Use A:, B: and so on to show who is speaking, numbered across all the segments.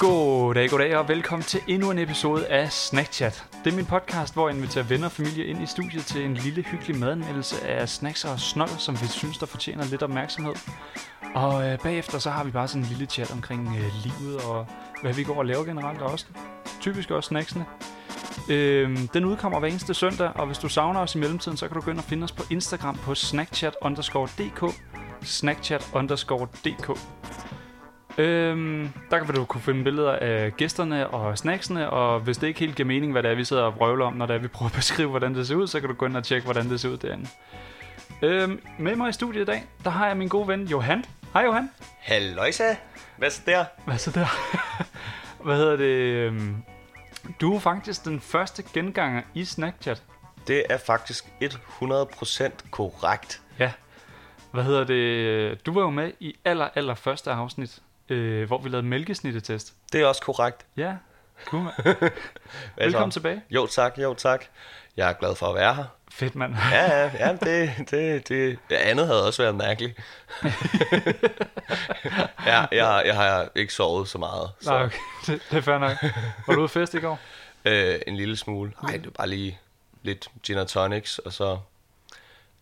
A: Goddag, goddag og velkommen til endnu en episode af Snackchat. Det er min podcast, hvor jeg inviterer venner og familie ind i studiet til en lille hyggelig madanmeldelse af snacks og snold, som vi synes, der fortjener lidt opmærksomhed. Og øh, bagefter så har vi bare sådan en lille chat omkring øh, livet og hvad vi går og laver generelt og også typisk også snacksene. Øhm, den udkommer hver eneste søndag, og hvis du savner os i mellemtiden, så kan du gå ind og finde os på Instagram på snackchat underscore dk, snackchat underscore dk. Øhm, der kan du kunne finde billeder af gæsterne og snacksene, og hvis det ikke helt giver mening, hvad det er, vi sidder og vrøvler om, når det er, vi prøver at beskrive, hvordan det ser ud, så kan du gå ind og tjekke, hvordan det ser ud derinde. Øhm, med mig i studiet i dag, der har jeg min gode ven Johan. Hej Johan.
B: Halløjsa! Hvad så der?
A: Hvad så der? hvad hedder det? øhm, Du er faktisk den første genganger i Snackchat.
B: Det er faktisk 100% korrekt.
A: Ja. Hvad hedder det? Du var jo med i aller, aller første afsnit, øh, hvor vi lavede mælkesnittetest.
B: Det er også korrekt.
A: Ja. Altså, Cool, mand.
B: Hvad så?
A: Velkommen tilbage.
B: Jo tak, jo tak. Jeg er glad for at være her.
A: Fedt, mand.
B: Ja, ja, ja det, det, det ja, andet havde også været mærkeligt. ja, jeg, har- jeg har ikke sovet så meget. Så,
A: Nej, okay. Det, det er fair nok. Var du ude at fest i går?
B: øh, en lille smule. Nej, det var bare lige lidt gin and tonics, og så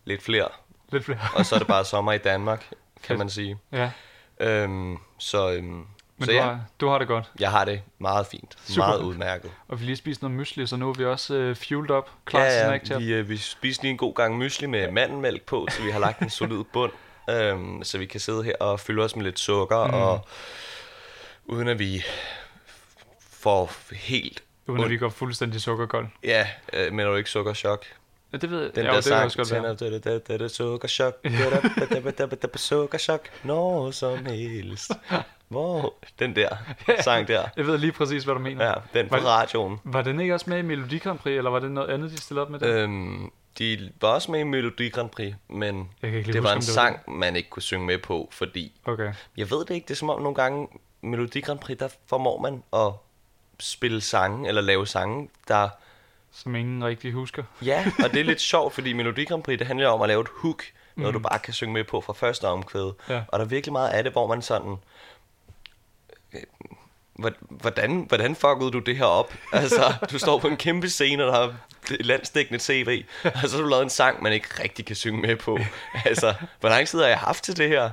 B: lidt flere.
A: Lidt flere.
B: Og så er det bare sommer i Danmark, kan man sige.
A: Ja.
B: Øhm, så øhm,
A: Men
B: så
A: du,
B: ja,
A: har, du har det godt.
B: jeg har det meget fint.
A: Super.
B: Meget udmærket.
A: Og vi lige spiste noget mysli, så nu er vi også øh, fueled up. Klar til Snackchat.
B: vi, øh, vi spiste lige en god gang mysli med mandelmælk på, så vi har lagt en solid bund, øhm, så vi kan sidde her og fylde os med lidt sukker, mm. og uden at vi får helt...
A: Uden at vi går fuldstændig sukkerkold.
B: Ja, øh, men er jo ikke sukkerchok.
A: Ja, det ved jeg.
B: Den
A: ja,
B: der
A: det kan
B: sang,
A: også godt være.
B: tænder, da, da, da, da, da, sukkerchok, da, da, da, da, da, da, da, da, sukkerchok, når som helst. Hvor... Den der sang der.
A: Jeg ved lige præcis, hvad du mener.
B: Ja, den på
A: Var det-
B: radioen.
A: Var den ikke også med i Melodi Grand Prix, eller var det noget andet, de stillede op med det?
B: Øhm, de var også med i Melodi Grand Prix, men
A: kan ikke lige
B: det
A: huske,
B: var
A: om
B: en
A: det var
B: sang, man ikke kunne synge med på, fordi...
A: Okay.
B: Jeg ved det ikke, det er som om nogle gange Melodi Grand Prix, der formår man at spille sange, eller lave sange, der...
A: Som ingen rigtig husker.
B: Ja, og det er lidt sjovt, fordi Melodi Grand Prix, det handler om at lave et hook, noget du bare kan synge med på fra første omkvæd.
A: Mm. Ja.
B: Og der er virkelig meget af det, hvor man sådan... øh, hvor- Hvordan, hvordan fuckede du det her op? Altså, du står på en kæmpe scene, og der er et landsdækkende tv, og så har du lavet en sang, man ikke rigtig kan synge med på. Altså, hvor lang tid har jeg haft til det her?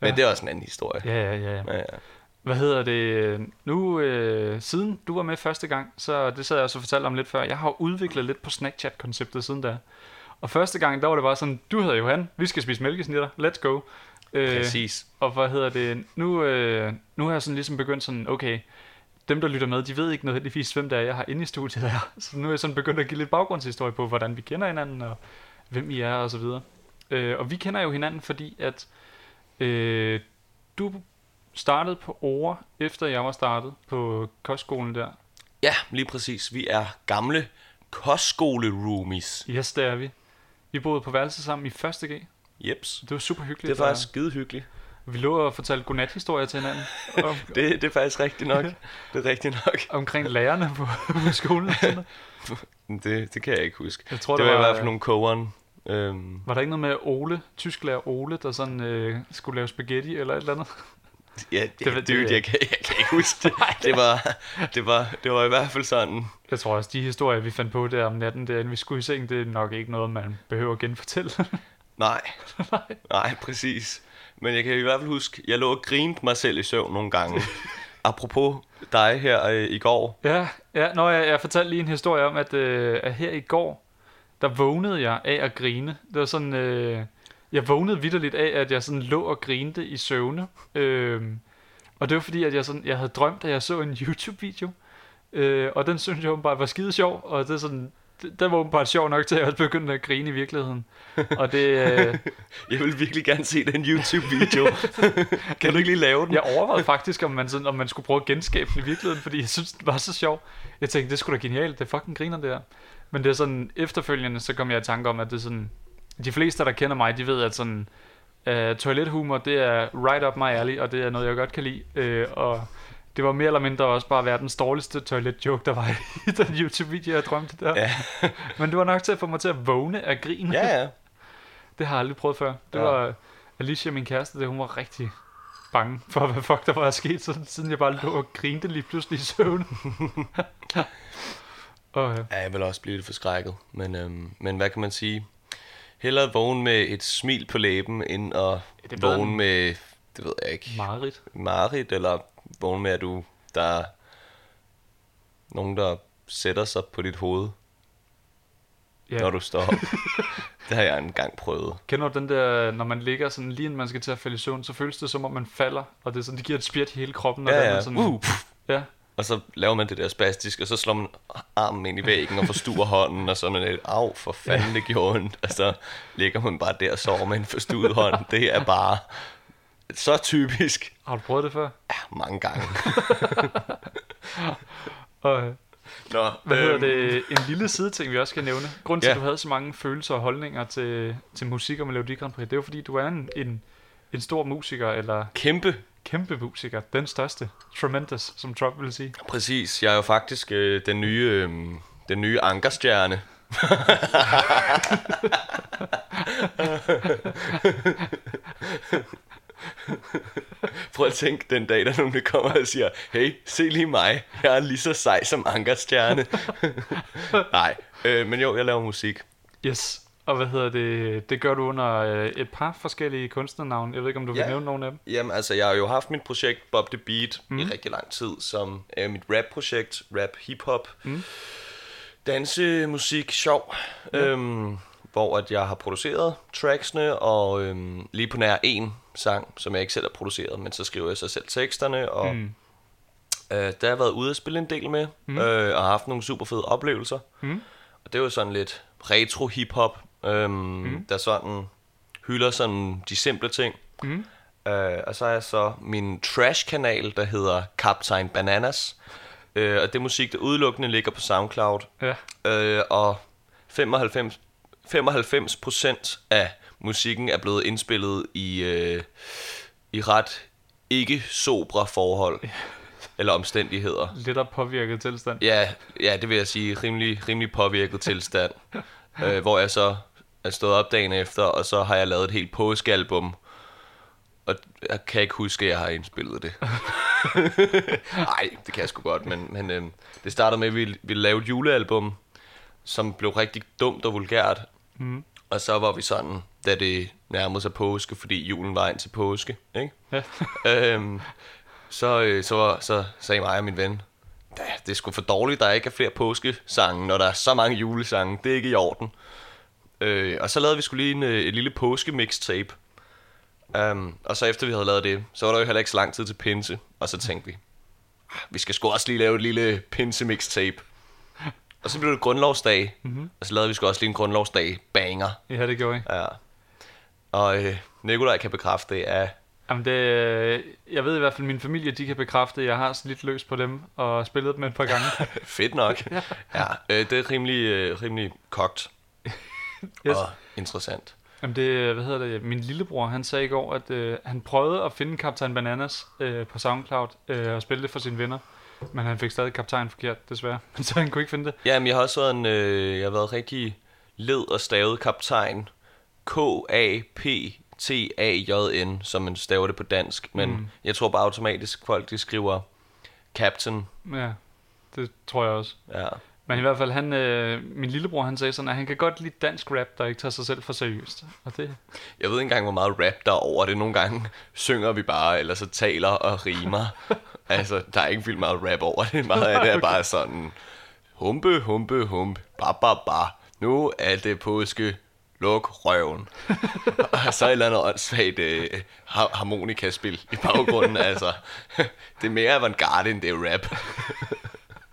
B: Men det er også en anden historie.
A: Ja, ja, ja. ja.
B: Ja, ja.
A: Hvad hedder det? Nu, øh, siden du var med første gang, så det sad jeg også og fortalte om lidt før, jeg har udviklet lidt på Snackchat-konceptet siden da. Og første gang, der var det bare sådan, du hedder Johan, vi skal spise mælkesnitter, let's go. Øh,
B: Præcis.
A: og hvad hedder det? Nu, øh, nu har jeg sådan ligesom begyndt sådan, okay, dem der lytter med, de ved ikke nødvendigvis, hvem der er, jeg har inde i studiet her. Så nu er jeg sådan begyndt at give lidt baggrundshistorie på, hvordan vi kender hinanden, og hvem I er, og så videre. Øh, og vi kender jo hinanden, fordi at øh, du startede på Ore, efter jeg var startet på kostskolen der.
B: Ja, lige præcis. Vi er gamle kostskole-roomies.
A: Yes, der er vi. Vi boede på værelse sammen i 1. G.
B: Jeps.
A: Det var super hyggeligt.
B: Det er faktisk skide hyggeligt.
A: og Vi lå og fortalte godnat-historier til hinanden. Om,
B: Det, det er faktisk rigtigt nok. Det er rigtigt nok.
A: omkring lærerne på, på skolen. og sådan noget.
B: Det, det kan jeg ikke huske.
A: Jeg tror,
B: det,
A: det
B: var,
A: var-
B: i hvert fald nogle kogeren. Øhm,
A: Var der ikke noget med Ole, tysklærer Ole, der sådan øh, skulle lave spaghetti eller et eller andet?
B: ja, det,
A: ved-
B: det,
A: det
B: det,
A: ved jeg
B: jeg, kan, jeg kan ikke huske det. det, var, det, var, det var i hvert fald sådan.
A: Jeg tror også, de historier, vi fandt på der om natten, der, inden vi skulle i seng, det er nok ikke noget, man behøver at genfortælle.
B: Nej. Nej, præcis. Men jeg kan i hvert fald huske, jeg lå og grinte mig selv i søvn nogle gange. Apropos dig her øh, i går.
A: ja, ja, når jeg, jeg fortalte lige en historie om, at, øh, at her i går, der vågnede jeg af at grine. Det var sådan, øh, jeg vågnede vidderligt af, at jeg sådan lå og grinte i søvne. Øh, og det var fordi, at jeg, sådan, jeg havde drømt, at jeg så en YouTube-video, øh, og den synes jeg åbenbart var skide sjov, og det er sådan, det- den var åbenbart sjov nok til, at jeg også begyndte at grine i virkeligheden. Og det, øh,
B: Jeg vil virkelig gerne se den YouTube-video. kan du ikke lige lave den?
A: jeg overvejede faktisk, om man, sådan, om man skulle prøve at genskabe den i virkeligheden, fordi jeg synes, den var så sjov. Jeg tænkte, det skulle da genialt, det fucking griner det her. Men det er sådan, efterfølgende, så kom jeg i tanke om, at det er sådan, de fleste, der kender mig, de ved, at sådan, øh, toilethumor, det er right up my alley, og det er noget, jeg godt kan lide. Øh, og det var mere eller mindre også bare verdens dårligste toiletjoke, der var i den YouTube-video, jeg drømte der.
B: Ja.
A: Men det var nok til at få mig til at vågne af grin.
B: Ja, ja.
A: Det øh, har jeg aldrig prøvet før. Det ja.
B: Ja.
A: var Alicia, min kæreste, det, hun var rigtig, bange for, hvad fuck der var sket, sådan, siden jeg bare lå og grinte lige pludselig i søvn. og øh,
B: Ja, jeg vil også blive lidt forskrækket. Men, øhm, men hvad kan man sige? Hellere vågne med et smil på læben, end at
A: det er bedre
B: vågne
A: end-
B: med, det ved jeg ikke,
A: mareridt.
B: Marit, eller vågne med, at du, der er nogen, der sætter sig på dit hoved,
A: Ja.
B: når du står op. det har jeg engang prøvet.
A: Kender du den der, når man ligger sådan lige inden man skal til at falde i søvn, så føles det som om man falder, og det er sådan, det giver et spjæt i hele kroppen. Og
B: Ja,
A: den
B: ja.
A: er Sådan,
B: Uh, pff.
A: ja.
B: Og så laver man det der spastisk, og så slår man armen ind i væggen og forstuer hånden, og så er man lidt, af for fanden det gjorde ondt. Og så ligger man bare der og sover med en forstuet hånd. Det er bare så typisk.
A: Har du prøvet det før?
B: Ja, mange gange.
A: Og, øh,
B: Nå,
A: Hvad hedder
B: øhm,
A: det? En lille sideting, vi også skal nævne. Grunden til,
B: Ja.
A: at du havde så mange følelser og holdninger til, til musik og Melodi Grand Prix, det er jo fordi, du er en, en, en stor musiker, eller
B: Kæmpe
A: kæmpe musiker. Den største. Tremendous, som Trump ville sige.
B: Præcis, jeg er jo faktisk øh, den nye øh, den nye ankerstjerne. Prøv at tænke den dag, der er nogen der kommer og siger, hey, se lige mig, jeg er lige så sej som ankerstjerne. Nej, øh, men jo, jeg laver musik.
A: Yes. Og hvad hedder det? Det gør du under øh, et par forskellige kunstnernavne. Jeg ved ikke, om du
B: Ja.
A: vil nævne nogen af dem.
B: Jamen altså, jeg har jo haft mit projekt Bob The Beat mm. i rigtig lang tid, som er mit rap-projekt, rap, hip-hop, mm. danse, musik, sjov, øhm, hvor at jeg har produceret tracksene, og øhm, lige på nær en sang, som jeg ikke selv har produceret, men så skriver jeg så selv teksterne, og mm. øh, der har jeg været ude at spille en del med, mm. øh, og har haft nogle super fede oplevelser. Mm. Og det var sådan lidt retro-hip-hop, øhm, mm. der sådan hylder sådan de simple ting. Mm. Øh, og så er jeg så min trash-kanal, der hedder Captain Bananas. Øh, og det er musik, der udelukkende ligger på SoundCloud.
A: Ja.
B: Øh, og 95, 95 procent af musikken er blevet indspillet i, øh, i ret ikke sobre forhold eller omstændigheder.
A: Lidt af påvirket tilstand.
B: Ja, ja, det vil jeg sige. Rimelig, rimelig påvirket tilstand. øh, hvor jeg så er stået op dagen efter, og så har jeg lavet et helt påskealbum. Og jeg kan ikke huske, at jeg har indspillet det. Nej, det kan jeg sgu godt, men, men øh, det starter med, at vi, vi lavede et julealbum, som blev rigtig dumt og vulgært. Mm. Og så var vi sådan, da det nærmede sig påske, fordi julen var ind til påske, ikke?
A: Ja.
B: øhm, så, øh, så, var- så sagde mig og min ven, "Da, det er sgu for dårligt, der ikke er flere påskesange, når der er så mange julesange. Det er ikke i orden. Øh, og så lavede vi skulle lige en, øh, et lille påske-mixtape. Um, og så efter vi havde lavet det, så var der jo heller ikke så lang tid til pinse. Og så tænkte vi, "Ah, vi skal sgu også lige lave et lille pinse-mixtape. Og så blev det grundlovsdag, mm-hmm. og så lavede vi sgu også lige en grundlovsdag banger.
A: ja, det gjorde jeg.
B: Ja. Og øh, Nikolaj kan bekræfte det af
A: Jamen det, øh, jeg ved i hvert fald, at min familie de kan bekræfte, at jeg har slidt løs på dem og spillet dem et par gange.
B: Fedt nok. ja, øh, det er rimelig, øh, rimelig kogt
A: Yes.
B: yes. og interessant.
A: Jamen det, øh, hvad hedder det, min lillebror, han sagde i går, at øh, han prøvede at finde Kaptajn Bananas øh, på SoundCloud øh, og spille det for sine venner, men han fik stadig Kaptajn forkert, desværre, men så han kunne ikke finde det.
B: Jamen, jeg har også været en, øh, jeg har været rigtig led og stavet kaptajn. K-A-P-T-A-J-N, som man staver det på dansk. Men mm. jeg tror bare automatisk, folk de skriver captain.
A: Ja, det tror jeg også.
B: Ja.
A: Men i hvert fald, han, øh, min lillebror, han sagde sådan, at han kan godt lide dansk rap, der ikke tager sig selv for seriøst. Og det,
B: Jeg ved ikke engang, hvor meget rap der er over det. Nogle gange synger vi bare, eller så taler og rimer. altså, der er ikke vildt meget rap over det. Meget af det er bare sådan, humpe, humpe, humpe, ba, ba, ba. Nu er det påske, luk røven. og så et eller andet åndssvagt øh, har- harmonikaspil i baggrunden. altså, det er mere avantgarde, end det er rap.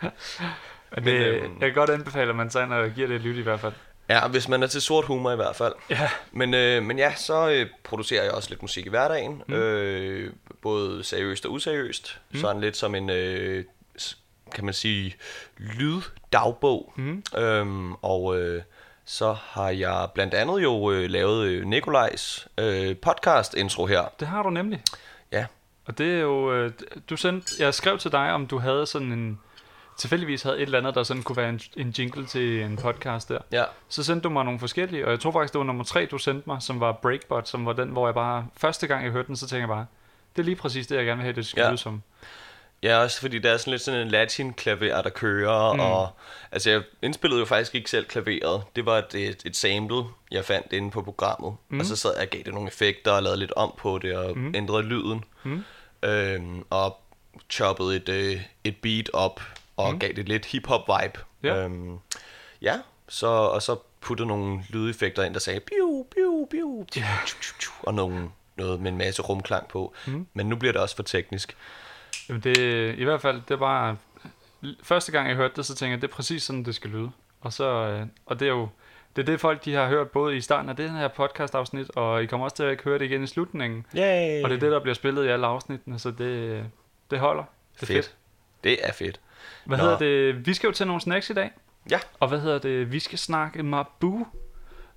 A: men,
B: Men,
A: det,
B: øh,
A: jeg kan godt anbefale, at man tager ind og giver det et lyt i hvert fald.
B: Ja, hvis man er til sort humor i hvert fald.
A: Ja.
B: Men, øh, men ja, så øh, producerer jeg også lidt musik i hverdagen. Mm. Øh, både seriøst og useriøst. Mm. Sådan lidt som en, øh, s- kan man sige, lyddagbog. Mm. Øhm, og øh, så har jeg blandt andet jo øh, lavet øh, Nikolajs øh, podcast-intro her.
A: Det har du nemlig.
B: Ja,
A: Og det er jo, øh, du sendte, jeg skrev til dig, om du havde sådan en, tilfældigvis havde et eller andet, der sådan kunne være en, en jingle til en podcast der.
B: ja.
A: Så sendte du mig nogle forskellige, og jeg tror faktisk, det var nummer tre, du sendte mig, som var Breakbot, som var den, hvor jeg bare, første gang jeg hørte den, så tænkte jeg bare, Det er lige præcis det, jeg gerne vil have, det skal
B: Ja.
A: ja. lyde som.
B: Ja, også fordi der er sådan lidt sådan en latin-klaver, der kører, mm. og altså jeg indspillede jo faktisk ikke selv klaveret. Det var et, et, et sample, jeg fandt inde på programmet, mm. og så sad jeg og gav det nogle effekter og lavede lidt om på det og mm. ændrede lyden, mm. øhm, og choppede et, øh, et beat op og mm. gav det lidt hip-hop-vibe.
A: Ja.
B: Øhm, ja, så, og så puttede nogle lydeffekter ind, der sagde biu, biu, biu, biu, tju, tju, tju, og nogle, noget med en masse rumklang på. Mm. Men nu bliver det også for teknisk.
A: Jamen det, i hvert fald, det var første gang jeg hørte det, så tænkte jeg, det er præcis sådan, det skal lyde. Og, så, øh, og det er jo det, er det folk, de har hørt både i starten af det her podcast afsnit, og I kommer også til at høre det igen i slutningen.
B: Yay!
A: Og det er det, der bliver spillet i alle afsnittene, så det, det holder. Det er fedt. fedt.
B: Det er fedt.
A: Hvad
B: Nå.
A: Nå. hedder det? Vi skal jo til nogle snacks i dag.
B: Ja.
A: Og hvad hedder det? Vi skal snakke Mabu.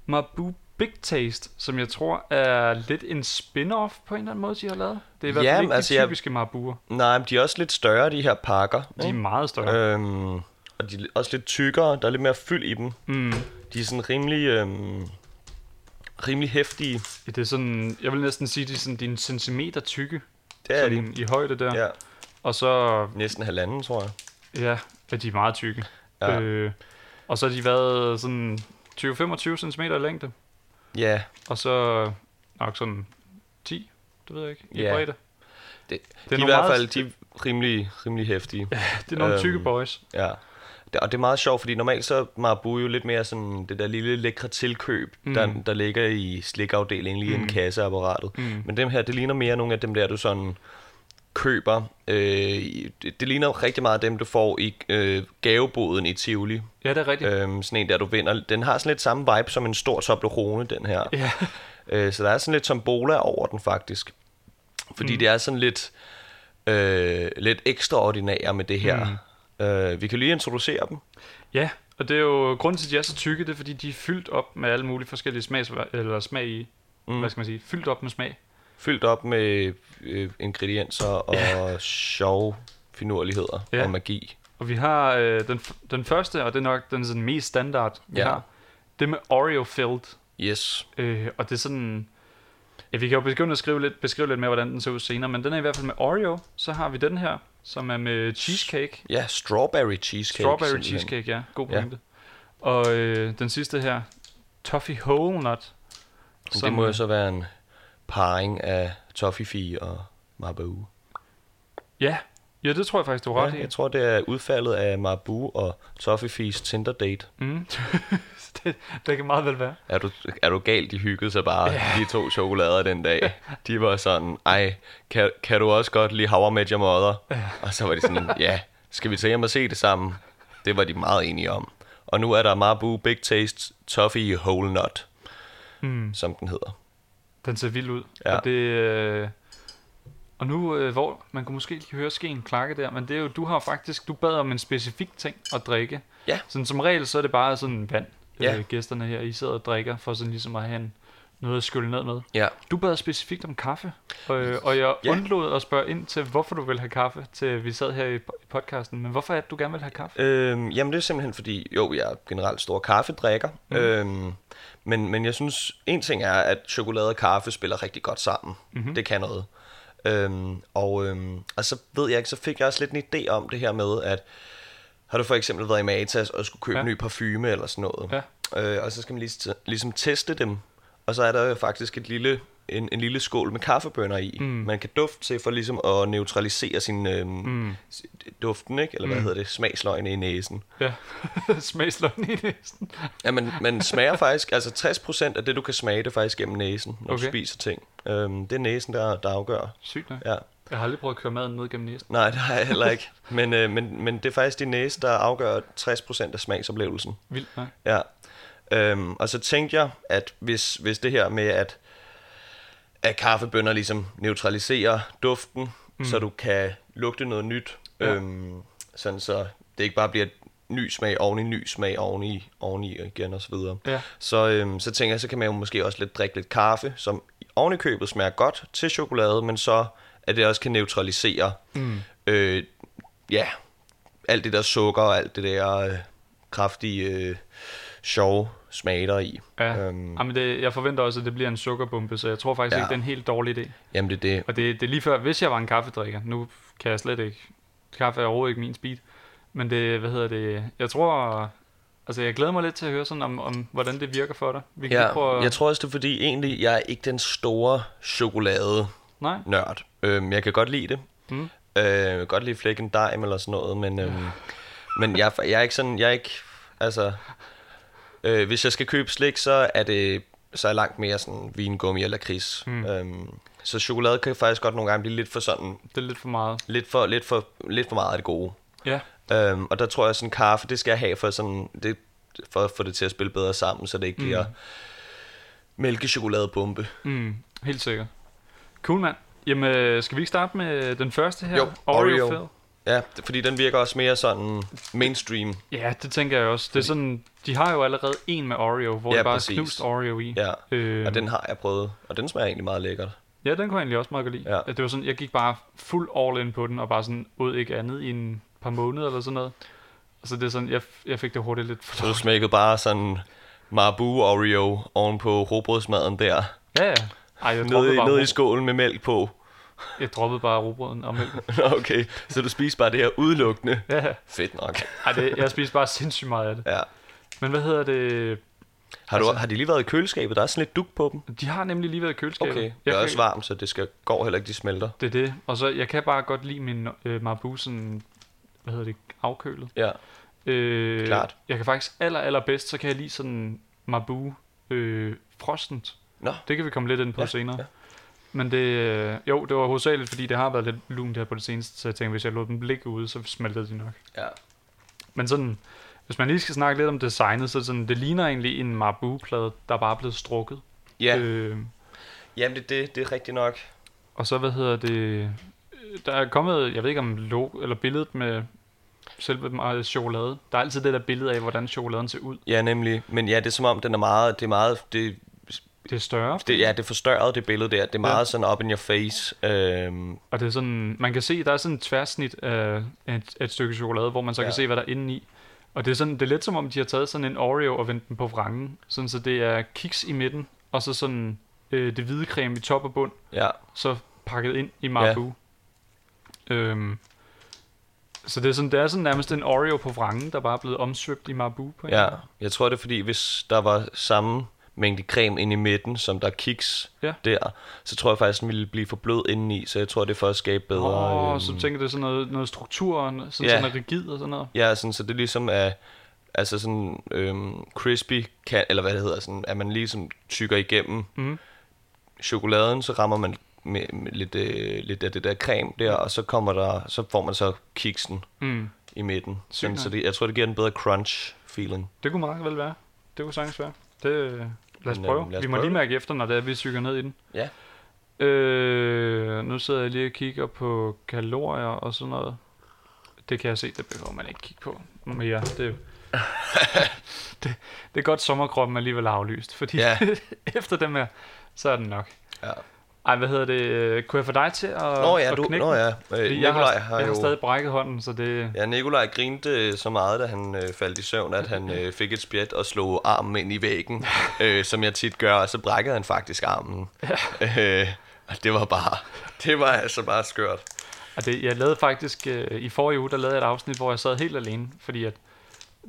A: Mabu Big Taste, som jeg tror er lidt en spin-off på en eller anden måde, de har lavet. Det er i hvert fald
B: Jamen,
A: ikke
B: altså,
A: de
B: jeg-
A: typiske jeg... Mabuer.
B: Nej, men de er også lidt større, de her pakker.
A: De er
B: ikke?
A: meget større.
B: Øhm, og de er også lidt tykkere. Der er lidt mere fyld i dem.
A: Mm.
B: De er sådan rimelig... Øhm, rimelig hæftige.
A: Det er sådan, jeg vil næsten sige, det er sådan, de er en centimeter tykke.
B: Det er de.
A: sådan i højde der.
B: Ja,
A: Og så,
B: næsten halvanden, tror jeg.
A: ja, er de meget tykke.
B: Ja.
A: Øh, og så har de været sådan 20-25 cm i længde.
B: Ja,
A: Og så nok sådan 10, det ved jeg ikke, i
B: Ja.
A: bredde.
B: det,
A: er
B: de er i
A: nogle
B: hvert
A: meget-
B: fald de er rimelig, rimelig hæftige.
A: Det er nogle
B: Øhm.
A: tykke boys.
B: Ja. Det- Og det er meget sjovt, fordi normalt så er Marabu jo lidt mere sådan det der lille lækre tilkøb, mm. der, der ligger i slikafdelingen lige mm. inden kasseapparatet. Mm. Men dem her, det ligner mere nogle af dem der, du sådan køber. Øh, i- det, det ligner rigtig meget dem, du får i øh, gaveboden i Tivoli.
A: Ja, det er rigtigt.
B: Øhm, sådan en der, du vinder. Den har sådan lidt samme vibe som en stor Toblerone, den her.
A: Ja.
B: Øh, så der er sådan lidt tombola over den faktisk. Fordi mm. det er sådan lidt, øh, lidt ekstraordinære med det her. Mm. Øh, vi kan lige introducere dem.
A: Ja, og det er jo grunden til, at de er så tykke, det er fordi, de er fyldt op med alle mulige forskellige smags, eller smag i. Mm. Hvad skal man sige? Fyldt op med smag.
B: Fyldt op med øh, ingredienser og ja. sjove finurligheder
A: Ja.
B: ja. og magi.
A: Og vi har øh, den, f- den første, og det er nok den sådan, mest standard, vi
B: Ja.
A: har. Det med Oreo filled.
B: Yes.
A: Øh, og det er sådan... Ja, vi kan jo begynde at skrive lidt, beskrive lidt mere, hvordan den ser ud senere, men den er i hvert fald med Oreo. Så har vi den her, som er med cheesecake.
B: Ja, strawberry cheesecake.
A: Strawberry
B: simpelthen.
A: cheesecake, ja. God
B: Ja.
A: pointe. Og øh, den sidste her, Toffee Whole Nut.
B: Men Uh, Det må jo så være en parring af Toffifee og Marabu.
A: Ja, ja det tror jeg faktisk, du har ret
B: Ja,
A: i.
B: jeg tror, det er udfaldet af Marabu og Toffifees Tinder date.
A: Mm. det, det kan meget vel være.
B: Er du, er du galt, de hyggede sig bare, de to chokolader den dag. De var sådan, ej, kan, kan du også godt lide How I Met Your Mother? Og så var de sådan, ja, skal vi tage hjem og se det sammen? Det var de meget enige om. Og nu er der Marabu Big Taste Toffee Whole Nut,
A: Mm.
B: som den hedder.
A: Den ser vild ud.
B: Ja.
A: Ja. Og, det, øh, og nu, øh, hvor man kunne måske lige høre skeen klakke der, men det er jo, du har jo faktisk, du bad om en specifik ting at drikke.
B: Ja.
A: Sådan, som regel, så er det bare sådan vand,
B: Ja.
A: ja. øh, gæsterne her, I sidder og drikker, for sådan ligesom at have en, noget at skylle ned med.
B: Ja,
A: Du bad specifikt om kaffe, øh, og jeg
B: Ja.
A: ja. undlod at spørge ind til, hvorfor du vil have kaffe, til vi sad her i po- i podcasten, men hvorfor er det, du gerne vil have kaffe?
B: Øhm, jamen det er simpelthen fordi, jo, jeg er generelt stor kaffedrikker, mm. øhm, men, men jeg synes, en ting er, at chokolade og kaffe spiller rigtig godt sammen. Mm-hmm. Det kan noget. Øhm, og, øhm, og så ved jeg ikke, så fik jeg også lidt en idé om det her med, at har du for eksempel været i Matas og skulle købe ja.
A: Ja.
B: ny parfume eller sådan noget, ja. øh, og så skal man lige, ligesom teste dem, og så er der jo faktisk et lille, en, en lille skål med kaffebønner i, mm. man kan dufte til for ligesom at neutralisere sin øhm, mm. duften, ikke? eller hvad mm. hedder det, smagsløgene i næsen.
A: Ja, smagsløgn i næsten.
B: Ja, men man smager faktisk, altså 60% af det, du kan smage, det er faktisk gennem næsen, når okay. du
A: Okay.
B: spiser ting. Øhm, det er næsen, der, der afgør.
A: Sygt nok.
B: Ja.
A: Jeg har aldrig prøvet at køre maden ned gennem næsen.
B: Nej, det har jeg heller ikke. Men, øh, men, men det er faktisk din næse, der afgør 60% af smagsoplevelsen.
A: Vildt nok.
B: Ja. Øhm, og så tænkte jeg, at hvis, hvis det her med, at, at kaffebønder ligesom neutraliserer duften, mm. så du kan lugte noget nyt, ja.
A: Ja.
B: øhm, sådan så det ikke bare bliver ny smag oveni, ny smag oveni, oveni igen og så videre.
A: Ja.
B: Så, øhm, så tænker jeg, så kan man jo måske også lidt drikke lidt kaffe, som oven i købet smager godt til chokolade, men så at det også kan neutralisere mm. øh, ja, alt det der sukker og alt det der øh, kraftige, øh, sjove smage der i.
A: Ja.
B: Øhm,
A: Jamen det, jeg forventer også, at det bliver en sukkerbombe, så jeg tror faktisk
B: Ja.
A: ja. ikke, det er en helt dårlig idé.
B: jamen det er det.
A: Og det, det er lige før, hvis jeg var en kaffedrikker. Nu kan jeg slet ikke. Kaffe er overhovedet ikke min speed. Men det, hvad hedder det, jeg tror, altså jeg glæder mig lidt til at høre sådan om, om hvordan det virker for dig. Vi kan lige prøve
B: Ja,
A: at-
B: jeg tror også, det er fordi, egentlig, jeg er ikke den store chokolade
A: Nej,
B: nørd. Øhm, jeg kan godt lide det.
A: Mm.
B: Øh, jeg kan godt lide flækken dime eller sådan noget, men, øhm, men jeg, er fa- jeg er ikke sådan, jeg er ikke, altså, øh, hvis jeg skal købe slik, så er det, så er jeg langt mere sådan vingummi eller kris. Mm. Øhm, så chokolade kan faktisk godt nogle gange blive lidt for sådan,
A: det er lidt for meget.
B: lidt for, lidt for, lidt for meget af det gode.
A: Ja,
B: Øhm, og der tror jeg sådan, kaffe, det skal jeg have for, sådan, det, for at få det til at spille bedre sammen, så det ikke bliver mælkechokoladebombe.
A: mm, helt sikkert. Cool, mand. Jamen, øh, skal vi ikke starte med den første her?
B: Jo, Oreo.
A: Fed.
B: Ja, det- fordi den virker også mere sådan mainstream.
A: Ja, det tænker jeg også. Det er sådan, de har jo allerede en med Oreo, hvor
B: Ja,
A: ja, de bare
B: præcis.
A: præcis. knust Oreo i.
B: Ja.
A: Øh,
B: Og den har jeg prøvet, og den smager egentlig meget lækkert.
A: Ja, den kunne jeg egentlig også meget godt lide.
B: Ja.
A: Ja. Det var sådan, jeg gik bare fuld all in på den, og bare sådan ud ikke andet i en par måneder eller sådan noget. Og så det er sådan, jeg, jeg fik det hurtigt lidt for
B: Så du smækkede bare sådan Marabou Oreo oven på robrødsmaden der.
A: Ja, ja. Ej, jeg droppede,
B: Nede, i,
A: bare,
B: nede i
A: rug-
B: skålen med mælk på.
A: jeg droppede bare rugbrøden og mælken.
B: Nå, okay, så du spiser bare det her udelukkende.
A: Ja, ja.
B: Fedt nok.
A: Ej, det, jeg spiste bare sindssygt meget af det.
B: Ja.
A: Men hvad hedder det?
B: Har, du,
A: Altså-
B: har de lige været i køleskabet? Der er sådan lidt duk på dem.
A: De har nemlig lige været i køleskabet.
B: Okay, det
A: jeg
B: er
A: kan-
B: også varmt, så det skal, går heller ikke, de smelter.
A: Det er det. Og så, jeg kan bare godt lide min øh, Marabu sådan, hvad hedder det, afkølet.
B: Ja,
A: Øh,
B: Klart.
A: Jeg kan faktisk aller, allerbedst, så kan jeg lide sådan Marabu øh, frostent.
B: Nå.
A: Det kan vi komme lidt ind på
B: Ja,
A: ja, senere.
B: ja.
A: Ja. Men det, øh, jo, det var hovedsageligt, fordi det har været lidt lunt her på det seneste, så jeg tænkte, hvis jeg lod dem ligge ude, så smeltede de nok.
B: ja.
A: Men sådan, hvis man lige skal snakke lidt om designet, så er det sådan, det ligner egentlig en Marabu-plade, der bare er blevet strukket.
B: Ja, øh.
A: Øh,
B: jamen det, det, det er rigtigt nok.
A: og så, hvad hedder det, øh, der er kommet, jeg ved ikke om logo, eller billedet med selve meget chokolade. Der er altid det der billede af, hvordan chokoladen ser ud.
B: Ja, nemlig. Men ja, det er som om, den er meget, det er meget, det,
A: Det er større,
B: det, ja, det er forstørret, det billede der. Det er meget ja. sådan up in your face. Øhm,
A: Og det er sådan, man kan se, der er sådan et tværsnit af af et, af et stykke chokolade, hvor man så ja.
B: Ja.
A: kan se, hvad der er inde i. Og det er, sådan, det er lidt som om, de har taget sådan en Oreo og vendt den på vrangen. Sådan, så det er kiks i midten, og så sådan øh, det hvide creme i top og bund,
B: ja.
A: så pakket ind i Marabu. Ja. Øhm, så det er, sådan, det er sådan nærmest en Oreo på vrangen, der bare er blevet omsvøbt i Marabu. På en
B: Ja, jeg tror det er fordi, hvis der var samme mængde creme inde i midten, som der er kiks
A: Ja.
B: der, så tror jeg faktisk, den ville blive for blød indeni, så jeg tror, det er for at skabe bedre...
A: Åh,
B: øhm,
A: så tænker jeg, det er sådan noget, noget struktur, og sådan,
B: Ja.
A: ja. sådan noget rigid og sådan noget.
B: Ja, sådan, så det ligesom er... Altså sådan øhm, crispy, kan, eller hvad det hedder, sådan, at man ligesom tykker igennem
A: Mhm.
B: chokoladen, så rammer man med, med lidt, øh, lidt af det der creme der, og så kommer der, så får man så kiksen
A: Mm.
B: i midten.
A: Sygt
B: Sådan, så
A: nok.
B: det, jeg tror, det giver en bedre crunch-feeling.
A: Det kunne meget vel være. Det kunne sagtens være. Det, øh, lad os
B: Men,
A: prøve.
B: øhm, lad os
A: vi må
B: prøve
A: lige
B: det.
A: mærke efter, når det er, vi sykker ned i den.
B: Ja.
A: Øh, nu sidder jeg lige og kigger på kalorier og sådan noget. Det kan jeg se, det behøver man ikke kigge på mere. Det, det, det er godt, sommerkroppen alligevel er aflyst, fordi
B: Ja.
A: ja. efter dem her, så er den nok.
B: ja.
A: Ej, hvad hedder det? øh, Kunne jeg få dig til at
B: Nå ja,
A: at
B: du,
A: knække
B: nå
A: den?
B: ja. Øh,
A: Fordi jeg, har,
B: Nikolaj
A: jeg har stadig brækket hånden, så det...
B: Ja, Nikolaj grinte øh, så meget, da han øh, faldt i søvn, at han øh, fik et spjæt og slog armen ind i væggen, øh, som jeg tit gør, og så brækkede han faktisk armen. Ja. Øh, og det var bare, det var altså bare skørt.
A: Og det, jeg lavede faktisk, øh, i forrige uge, der lavede jeg et afsnit, hvor jeg sad helt alene, fordi at,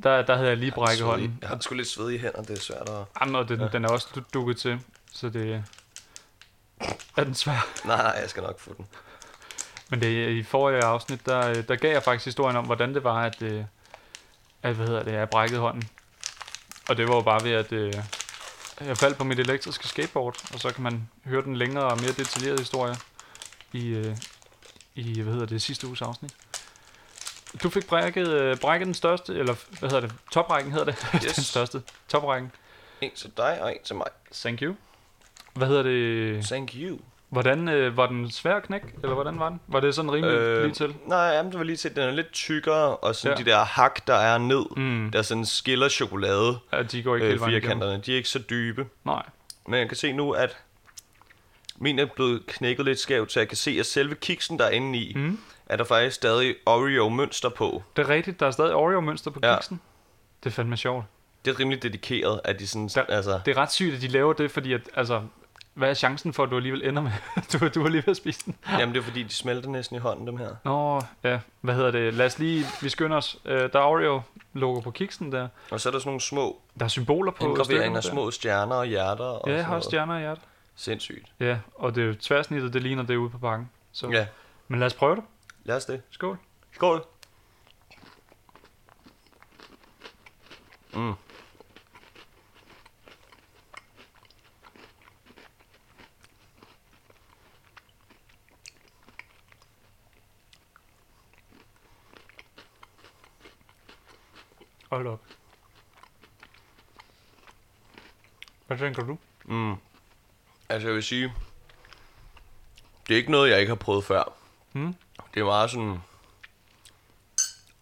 A: der, der havde jeg lige brækket
B: Svedige-
A: hånden.
B: Jeg har sgu lidt svedige hænder, det er svært at...
A: Jamen, og den, ja. den er også du- dukket til, så det er den svær.
B: Nej, nej, jeg skal nok få den.
A: Men det, i forrige afsnit, der, øh, der gav jeg faktisk historien om, hvordan det var, at, øh, at hvad hedder det, jeg brækkede hånden. Og det var jo bare ved, at øh, jeg faldt på mit elektriske skateboard, og så kan man høre den længere og mere detaljerede historie i, øh, i hvad hedder det, sidste uges afsnit. Du fik brækket, øh, brækket den største, eller hvad hedder det, toprækken hedder det,
B: Yes.
A: yes. den største, toprækken.
B: En til dig og en til mig.
A: Thank you. Hvad hedder det?
B: Thank you.
A: Hvordan øh, var den svær at knække, eller hvordan var den? Var det sådan rimelig øh, lige til?
B: Nej, jamen, det var lige til, den er lidt tykkere, og sådan ja.
A: Ja.
B: de der hak, der er ned,
A: Mm,
B: der sådan skiller chokolade
A: ja, de går ikke øh, hele
B: øh,
A: vejen igennem.
B: firkanterne, de er ikke så dybe.
A: Nej.
B: Men jeg kan se nu, at min er blevet knækket lidt skævt, så jeg kan se, at selve kiksen, der er inde i, mm.
A: Mm.
B: er der faktisk stadig Oreo-mønster på.
A: Det er rigtigt, der er stadig Oreo-mønster på
B: Ja.
A: ja. kiksen. Det er fandme sjovt.
B: det er rimelig dedikeret, at de sådan...
A: Der-
B: altså,
A: Det er ret sygt, at de laver det, fordi at, altså, hvad er chancen for, at du alligevel ender med, at du, du er lige ved at spise den?
B: jamen, det er fordi, de smelter næsten i hånden, dem her.
A: Nå, ja, hvad hedder det? Lad os lige, vi skynder os. Øh, der er Oreo-logo på kiksen der.
B: Og så er der sådan nogle små
A: Der er symboler på stykkerne
B: indgraveringer,
A: der.
B: små stjerner og hjerter. Og
A: Ja,
B: sådan
A: jeg har
B: noget.
A: også stjerner i hjertet.
B: Sindssygt.
A: Ja, og det er jo tværsnittet, det ligner det ude på bakken. Så.
B: Ja,
A: Men lad os prøve det.
B: lad os det.
A: Skål.
B: Skål. Mm.
A: Hold op. Hvad tænker du?
B: Mm. Altså, jeg vil sige, det er ikke noget, jeg ikke har prøvet før.
A: Mm.
B: Det er meget sådan,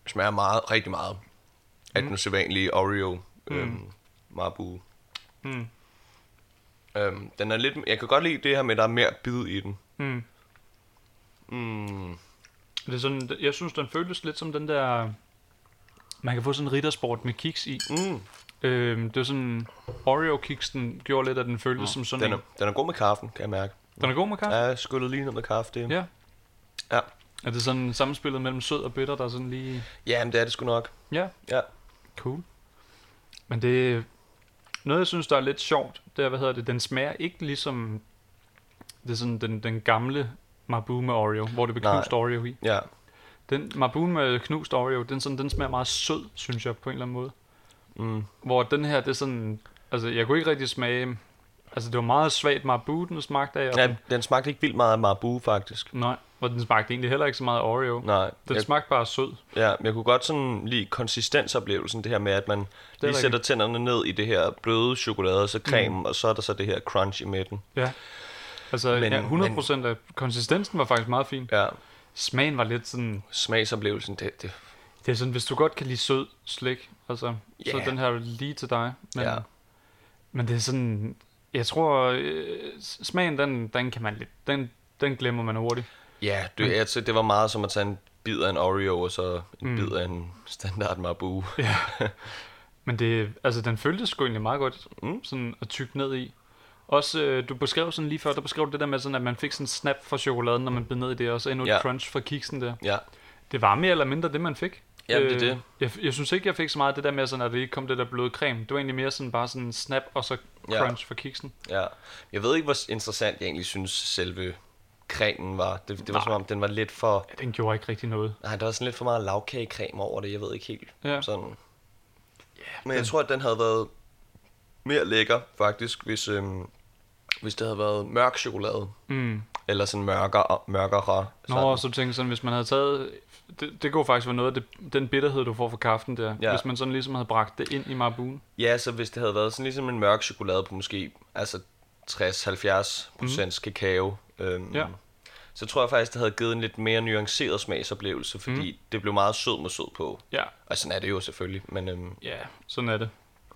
B: smager meget, rigtig meget af
A: Hmm?
B: den sædvanlige Oreo øhm, Marabou.
A: Mm.
B: Øhm, den er lidt, jeg kan godt lide det her med, at der er mere bid i den.
A: Mm.
B: Mm.
A: Det er sådan, jeg synes, den føles lidt som den der... Man kan få sådan en riddersport med kiks i.
B: Mm.
A: Øhm, det var sådan... Oreo-kiksen gjorde lidt, at den føltes mm. som sådan
B: Den, er,
A: en.
B: den er god med kaffen, kan jeg mærke.
A: Den er god med kaffe?
B: Ja, jeg skyllede lige ned med kaffe. Det.
A: Ja.
B: Ja.
A: Er det sådan samspillet mellem sød og bitter, der er sådan lige...
B: ja, men det er det sgu nok.
A: Ja.
B: Ja.
A: Cool. Men det noget, jeg synes, der er lidt sjovt, det er, hvad hedder det, den smager ikke ligesom det er sådan, den, den gamle Marbu med Oreo, hvor det blev
B: Nej.
A: knust Oreo i.
B: Ja,
A: Den Marbu med knust Oreo, den, sådan, den smager meget sød, synes jeg, på en eller anden måde.
B: mm.
A: Hvor den her, det er sådan, altså jeg kunne ikke rigtig smage, altså det var meget svagt Marbu, den smagte af. og
B: ja
A: den-
B: den smagte ikke vildt meget af Marabu, faktisk.
A: Nej, og den smagte egentlig heller ikke så meget af Oreo.
B: Nej,
A: Den
B: jeg,
A: smagte bare sød.
B: ja, jeg kunne godt sådan lide konsistensoplevelsen, det her med, at man lige
A: rigtigt.
B: sætter tænderne ned i det her bløde chokolade, og så creme, mm. og så er der så det her crunch i midten.
A: Ja. Altså,
B: Men-
A: men, ja, 100% af konsistensen var faktisk meget fin.
B: Ja,
A: Smagen var lidt sådan,
B: smagsoplevelsen, det, det
A: det er sådan, hvis du godt kan lide sød slik, altså, yeah. så
B: Ja.
A: er den her lige til dig. Men,
B: Ja.
A: men det er sådan, jeg tror, øh, s- smagen, den, den kan man lidt, den, den glemmer man hurtigt.
B: ja, det, jeg, tror, det var meget som at tage en bid af en Oreo, og så en mm.
A: Mm.
B: bid af en standard Marabu.
A: Men det, altså, den føltes sgu egentlig meget godt,
B: Mm.
A: mm. sådan at tykke ned i. Også, øh, du beskrev sådan lige før, der beskrev du det der med sådan, at man fik sådan en snap fra chokoladen, når man blev ned i det, og så endnu et
B: Ja.
A: crunch fra kiksen der.
B: Ja,
A: Det var mere eller mindre det, man fik. Øh,
B: Jamen, det er det.
A: Jeg, jeg synes ikke, jeg fik så meget af det der med, sådan, at det ikke kom det der bløde creme. Det var egentlig mere sådan bare sådan en snap, og så
B: Ja.
A: crunch for kiksen.
B: ja. Jeg ved ikke, hvor interessant jeg egentlig synes, selve cremen var. Det, det var
A: Nej.
B: som om, den var lidt for...
A: Ja, den gjorde ikke rigtig noget.
B: Nej, der var sådan lidt for meget lavkagecreme over det, jeg ved ikke helt.
A: Ja.
B: Sådan. Men jeg tror, at den havde været mere lækker, faktisk, hvis, øhm, hvis det havde været mørk chokolade.
A: Mm.
B: Eller sådan mørkere. mørkere
A: Nå,
B: sådan.
A: og så tænkte jeg sådan, hvis man havde taget... Det, det kunne faktisk være noget af det, den bitterhed, du får fra kaffen der.
B: Ja.
A: Ja. Hvis man sådan ligesom havde bragt det ind i marbuen.
B: Ja, så hvis det havde været sådan ligesom en mørk chokolade på måske altså 60-70 procents mm. kakao. Øhm,
A: Ja.
B: Så tror jeg faktisk, det havde givet en lidt mere nuanceret smagsoplevelse, fordi mm. det blev meget sød med sød på.
A: Ja,
B: Og sådan er det jo selvfølgelig, men, øhm,
A: ja, sådan er det.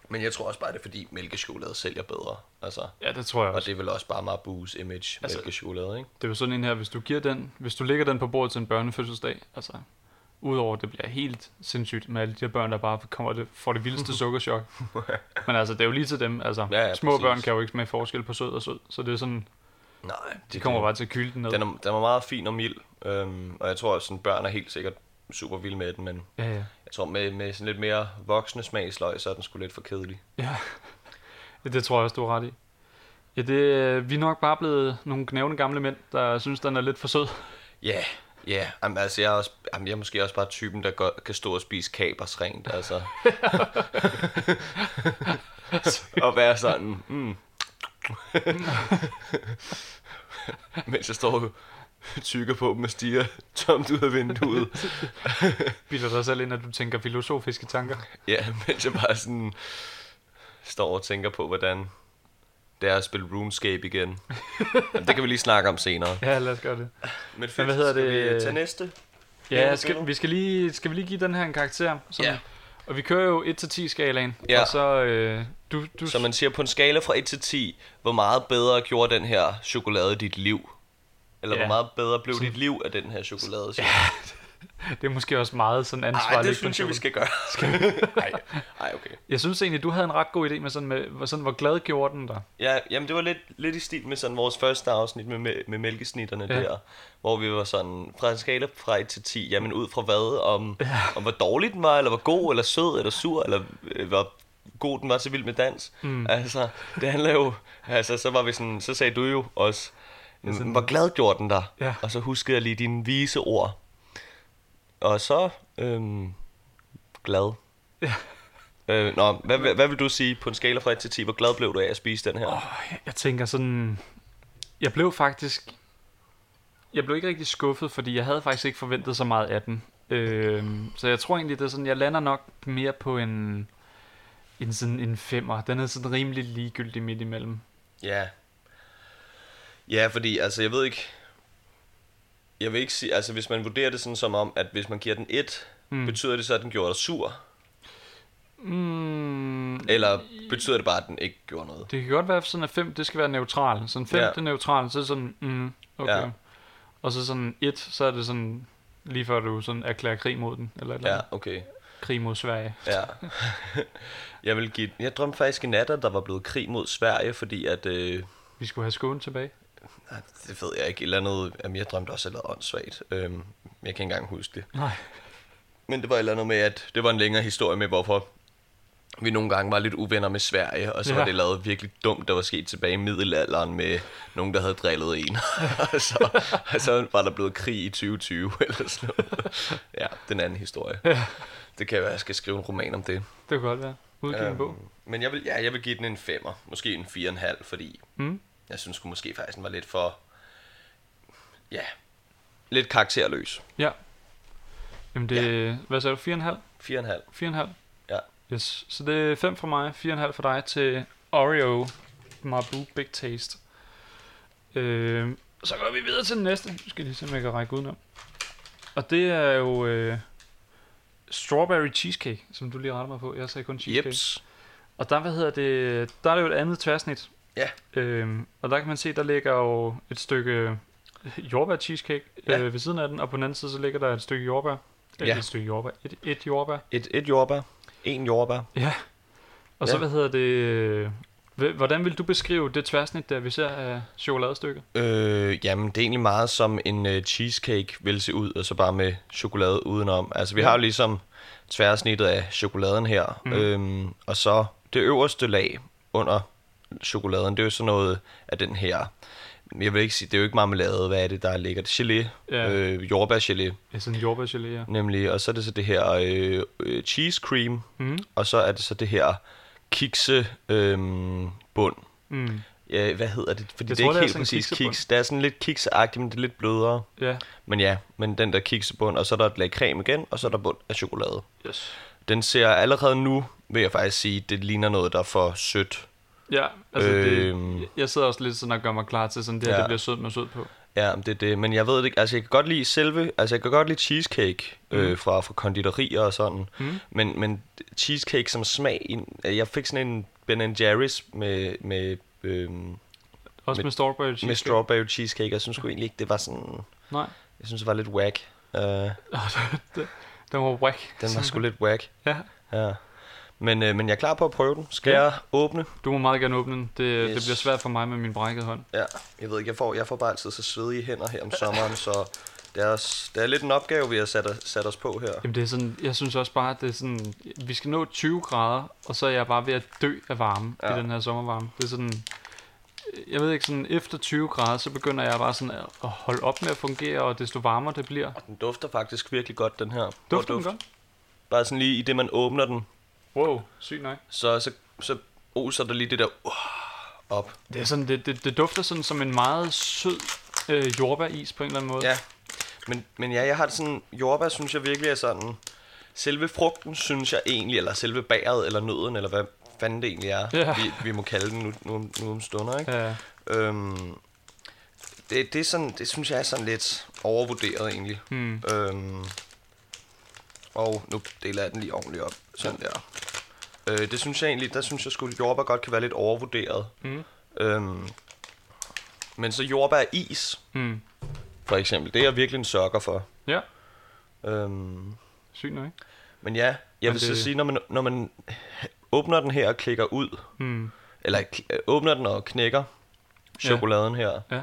B: men jeg tror også bare, det er fordi mælkechokolade sælger bedre. Altså,
A: Ja, det tror jeg
B: Og
A: også.
B: det er vel også bare Marabous image, altså,
A: Altså-
B: mælkechokolade, ikke?
A: Det er jo sådan en her, hvis du giver den, hvis du lægger den på bordet til en børnefødselsdag, altså udover at det bliver helt sindssygt med alle de her børn, der bare kommer det, får det vildeste sukkerchok. Men altså, det er jo lige til dem. Altså,
B: Ja,
A: ja,
B: ja,
A: ja, små
B: præcis.
A: børn kan jo ikke smage forskel på sød og sød, så det er sådan,
B: Nej,
A: de kommer bare til at kylde den ned.
B: Den, er, den var meget fin og mild, øhm, og jeg tror, at sådan, børn er helt sikkert super vilde med den, men
A: Ja, ja.
B: jeg tror, med, med sådan lidt mere voksne smagsløg, så er den sgu lidt for kedelig.
A: ja. Ja, Det tror jeg også, du har ret i. Ja, det, øh, vi er nok bare blevet nogle gnævne gamle mænd, der synes, den er lidt for sød.
B: Ja, yeah, ja. Yeah. Jamen, altså, jeg er, også, jamen, jeg er måske også bare typen, der godt kan stå og spise kapers rent, altså. og være sådan, mm. Mens jeg står og tykker på dem og stiger tomt ud af vinduet.
A: Bilder dig selv ind, at du tænker filosofiske tanker.
B: Ja, mens jeg bare sådan står og tænker på, hvordan det er at spille RuneScape igen. Jamen, det kan vi lige snakke om senere.
A: Ja, lad os gøre det.
B: Men fedt,
A: Men hvad hedder
B: skal
A: det?
B: vi øh, tage næste?
A: Ja, skal, vi skal lige, skal vi lige give den her en karakter? Sådan.
B: Ja.
A: Og vi kører jo 1-10 skalaen,
B: Ja.
A: og så øh, du, du
B: Så man siger, på en skala fra 1 til 10, hvor meget bedre gjorde den her chokolade dit liv? Eller ja.
A: Ja.
B: hvor meget bedre blev dit liv af den her chokolade? Ja.
A: Det er måske også meget sådan ansvarligt.
B: Nej, det synes jeg, vi skal gøre. Nej, Ej, okay.
A: Jeg synes egentlig, du havde en ret god idé med sådan, med, hvor- sådan hvor glad gjorde den dig.
B: Ja, jamen det var lidt, lidt i stil med sådan vores første afsnit med, med, med mælkesnitterne
A: Ja.
B: ja. der, hvor vi var sådan, fra en skala fra 1 til 10, jamen ud fra hvad, om, ja. om hvor dårlig den var, eller hvor god, eller sød, eller sur, eller øh, hvor god den var til vild med dans. Mm. Altså, det handler jo, altså så var vi sådan, så sagde du jo også, sådan, hvor glad gjorde den der?
A: Ja.
B: Og så huskede jeg lige dine vise ord. Og så, øhm, glad.
A: Ja.
B: Øh, nå, hvad, hvad, hvad vil du sige på en skala fra 1 til 10, hvor glad blev du af at spise den her?
A: Åh, jeg tænker sådan... Jeg blev faktisk... Jeg blev ikke rigtig skuffet, fordi jeg havde faktisk ikke forventet så meget af den. Øhm, så jeg tror egentlig, det er sådan, jeg lander nok mere på en, en sådan en femmer. Den er sådan rimelig ligegyldig midt imellem.
B: Ja. Ja, fordi altså, jeg ved ikke... Jeg vil ikke sige... Altså, hvis man vurderer det sådan som om, at hvis man giver den 1,
A: Mm.
B: mm. betyder det så, at den gjorde dig sur?
A: Mm,
B: Eller betyder det bare, at den ikke gjorde noget?
A: det kan godt være sådan, at 5, det skal være neutral. Sådan 5,
B: Ja.
A: ja. det er neutral, så er det sådan, mm, okay. Ja.
B: Ja.
A: Og så sådan 1, så er det sådan, lige før du sådan erklærer krig mod den, eller, et eller
B: Ja,
A: andet.
B: okay.
A: krig mod Sverige.
B: Ja. jeg vil give... Jeg drømte faktisk i nat, at der var blevet krig mod Sverige, fordi at... Øh,
A: Vi skulle have skålen tilbage.
B: nej, det ved jeg ikke. Et eller andet... Jamen, jeg drømte også et eller andet åndssvagt. Øhm, jeg kan ikke engang huske det.
A: Nej.
B: Men det var et eller andet med, at det var en længere historie med, hvorfor vi nogle gange var lidt uvenner med Sverige, og så ja.
A: Ja.
B: var det lavet virkelig dumt, der var sket tilbage i middelalderen med nogen, der havde drillet en. og, så, og så var der blevet krig i 2020 eller sådan noget. Ja, den anden historie.
A: Ja.
B: Det kan være, at jeg skal skrive en roman om det.
A: Det kunne godt være. Udgive en bog.
B: Øhm, men jeg vil, ja, jeg vil give den en femmer, måske en fire og en halv, fordi
A: Mm.
B: jeg synes sgu måske faktisk, den var lidt for, ja, lidt karakterløs.
A: Ja. Jamen det, ja. hvad sagde du, 4,5?
B: Fire og en halv,
A: 4,5?
B: ja.
A: Yes. Så det er 5 for mig, 4,5 for dig til Oreo Marabu Big Taste. Øh, så går vi videre til den næste. Nu skal jeg lige se, om jeg kan række udenom. Og det er jo øh, strawberry cheesecake, som du lige retter mig på. Jeg sagde kun cheesecake.
B: Jeps.
A: Og der, hvad hedder det, der er det jo et andet tværsnit.
B: Ja.
A: Øhm, og der kan man se, der ligger jo et stykke øh, jordbær cheesecake ja.
B: Ja.
A: øh, ved siden af den, og på den anden side, så ligger der et stykke jordbær. Eller
B: Ja.
A: et stykke jordbær. Et, et jordbær.
B: Et, et jordbær, en jordbær,
A: Ja. Og så,
B: Ja.
A: hvad hedder det, øh, hv- hvordan vil du beskrive det tværsnit, der vi ser af chokoladestykket?
B: Øh, jamen, det er egentlig meget som en øh, cheesecake vil se ud, og så bare med chokolade udenom. Altså, vi har jo ligesom tværsnittet af chokoladen her,
A: Mm.
B: mm. øhm, og så det øverste lag under chokoladen, det er jo sådan noget af den her, jeg vil ikke sige, det er jo ikke marmelade, hvad er det, der ligger? Gelé,
A: Ja.
B: ja. øh, jordbærgelé
A: Ja, sådan en jordbærgelé, ja.
B: nemlig, og så er det så det her øh, øh, cheese cream,
A: Mm.
B: og så er det så det her kikse øh, bund.
A: Mm.
B: Ja, hvad hedder det? Fordi
A: Jeg
B: jeg det
A: tror,
B: er
A: det
B: ikke
A: er
B: helt
A: sådan en
B: præcis
A: kiksebund.
B: kiks. Der er sådan lidt kiksagtigt, men det er lidt blødere.
A: Ja.
B: Men ja, men den der kiksebund, og så er der et lag creme igen, og så er der bund af chokolade.
A: Yes.
B: Den ser allerede nu, vil jeg faktisk sige, det ligner noget, der er for sødt.
A: Ja, altså
B: Øhm.
A: det, jeg sidder også lidt sådan og gør mig klar til sådan det her,
B: Ja.
A: det bliver sødt med sødt på.
B: Ja, men det er det. Men jeg ved det ikke, altså jeg kan godt lide selve, altså jeg kan godt lide cheesecake øh, fra, fra konditorier og sådan.
A: Mm.
B: Men, men cheesecake som smag, en- jeg fik sådan en Ben Jerry's med, med, øh,
A: Også med,
B: Med-
A: med strawberry cheesecake.
B: med strawberry cheesecake, og jeg synes sgu egentlig ikke, det var sådan,
A: Nej.
B: jeg synes det var lidt whack. Uh,
A: Den var whack.
B: Den var sgu lidt whack.
A: Ja.
B: Ja. Men, øh, men jeg er klar på at prøve den. Skal
A: Ja.
B: ja. jeg åbne?
A: Du må meget gerne åbne den. Det, yes. det
B: Yes.
A: bliver svært for mig med min brækkede hånd.
B: Ja, jeg ved ikke, jeg får, jeg får bare altid så svedige hænder her om sommeren, så det er, også- det er lidt en opgave, vi har sat, os- sat os på her.
A: Jamen det er sådan, jeg synes også bare, at det er sådan, vi skal nå 20 grader, og så er jeg bare ved at dø af varme ja.
B: Ja.
A: i den her sommervarme. Det er sådan, jeg ved ikke, sådan efter 20 grader, så begynder jeg bare sådan at at holde op med at fungere, og desto varmere det bliver.
B: Den dufter faktisk virkelig godt, den her.
A: Dufter
B: Hvor
A: den godt?
B: Bare sådan lige i det, man åbner den,
A: Wow, sygt nok.
B: så, så, så oser der lige det der uh, op.
A: Det, er sådan, det, det, det dufter sådan som en meget sød øh, jordbæris på en eller anden måde.
B: Ja, men, men ja, jeg har det sådan, jordbær synes jeg virkelig er sådan, selve frugten synes jeg egentlig, eller selve bæret, eller nøden, eller hvad fanden det egentlig er,
A: Ja.
B: vi, vi må kalde den nu, nu, nu om stunder, ikke?
A: Øh,
B: Øhm, det, det, er sådan, det synes jeg er sådan lidt overvurderet egentlig.
A: hmm.
B: Øhm, og nu deler jeg den lige ordentligt op. Sådan der. Øh, det synes jeg egentlig, der synes jeg sgu, at jordbær godt kan være lidt overvurderet.
A: Mm.
B: Øhm, men så jordbær is,
A: Hmm.
B: for eksempel, det er jeg virkelig en sokker for.
A: Ja,
B: Øhm,
A: Sygt nok, ikke?
B: men ja, jeg vil
A: Men
B: så
A: det-
B: sige, når man, når man åbner den her og klikker ud,
A: Mm.
B: eller kl- øh, åbner den og knækker chokoladen her,
A: Ja.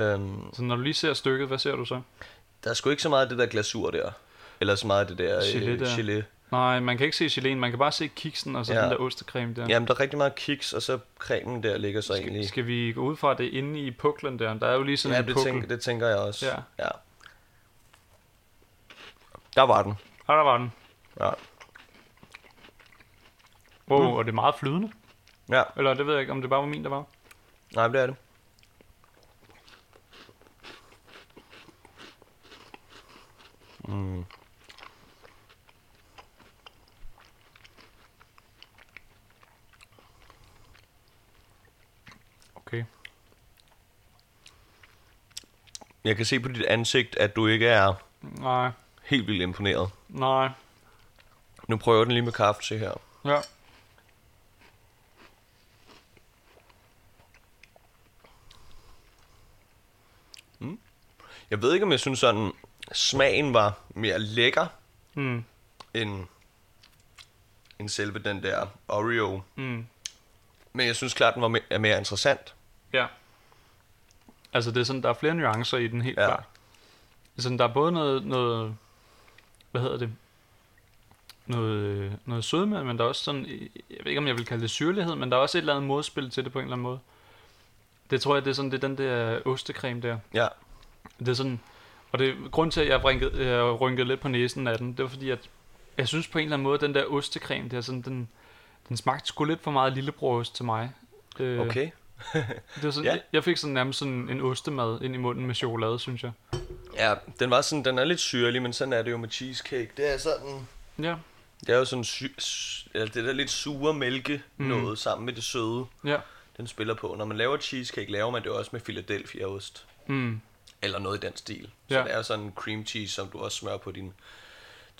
B: øhm,
A: Så når du lige ser stykket, hvad ser du så?
B: der er sgu ikke så meget af det der glasur der, eller så meget af det der
A: Gelé
B: øh,
A: der.
B: gelé.
A: Nej, man kan ikke se geléen, man kan bare se kiksen og så ja.
B: Ja.
A: den der ostecreme der.
B: Jamen, der er rigtig meget kiks, og så cremen der ligger så
A: skal,
B: egentlig.
A: skal vi gå ud fra at det er inde i puklen der? Der er jo lige sådan
B: Ja,
A: en
B: det,
A: pukkel.
B: tænker, det tænker jeg også.
A: Ja.
B: ja. Der var den.
A: Og der var den.
B: Ja.
A: Wow, mm. og det er meget flydende.
B: ja.
A: Eller det ved jeg ikke, om det bare var min, der var.
B: Nej, det er det. Mm.
A: Okay.
B: Jeg kan se på dit ansigt, at du ikke er
A: Nej,
B: helt vildt imponeret.
A: nej.
B: Nu prøver jeg den lige med kaffe til her.
A: Ja.
B: Jeg ved ikke, om jeg synes sådan, smagen var mere lækker,
A: Mm.
B: end, end selve den der Oreo.
A: Mm.
B: Men jeg synes klart, den var me- er mere interessant.
A: Ja. Altså det er sådan, der er flere nuancer i den helt ja.
B: Ja.
A: klart. Sådan, der er både noget, noget, hvad hedder det, noget, noget sødme, men der er også sådan, jeg ved ikke om jeg vil kalde det syrlighed, men der er også et eller andet modspil til det på en eller anden måde. Det tror jeg, det er sådan, det er den der ostecreme der.
B: Ja.
A: Det er sådan, og det er grund til, at jeg rynkede, jeg rynkede lidt på næsen af den, det var fordi, at jeg synes på en eller anden måde, at den der ostecreme der, sådan, den, den smagte sgu lidt for meget lillebrorost til mig. Øh,
B: Okay.
A: Det var sådan, ja.
B: Ja.
A: Jeg fik sådan nærmest sådan en ostemad ind i munden med chokolade, synes jeg.
B: Ja, den var sådan, den er lidt syrlig, men sådan er det jo med cheesecake. Det er sådan,
A: Ja,
B: det er jo sådan sy- sy- eller det der lidt sure mælke mm. noget sammen med det søde,
A: ja.
B: den spiller på. Når man laver cheesecake, laver man det også med Philadelphia ost,
A: Mm.
B: eller noget i den stil.
A: Ja.
B: Så det er jo sådan en cream cheese, som du også smører på din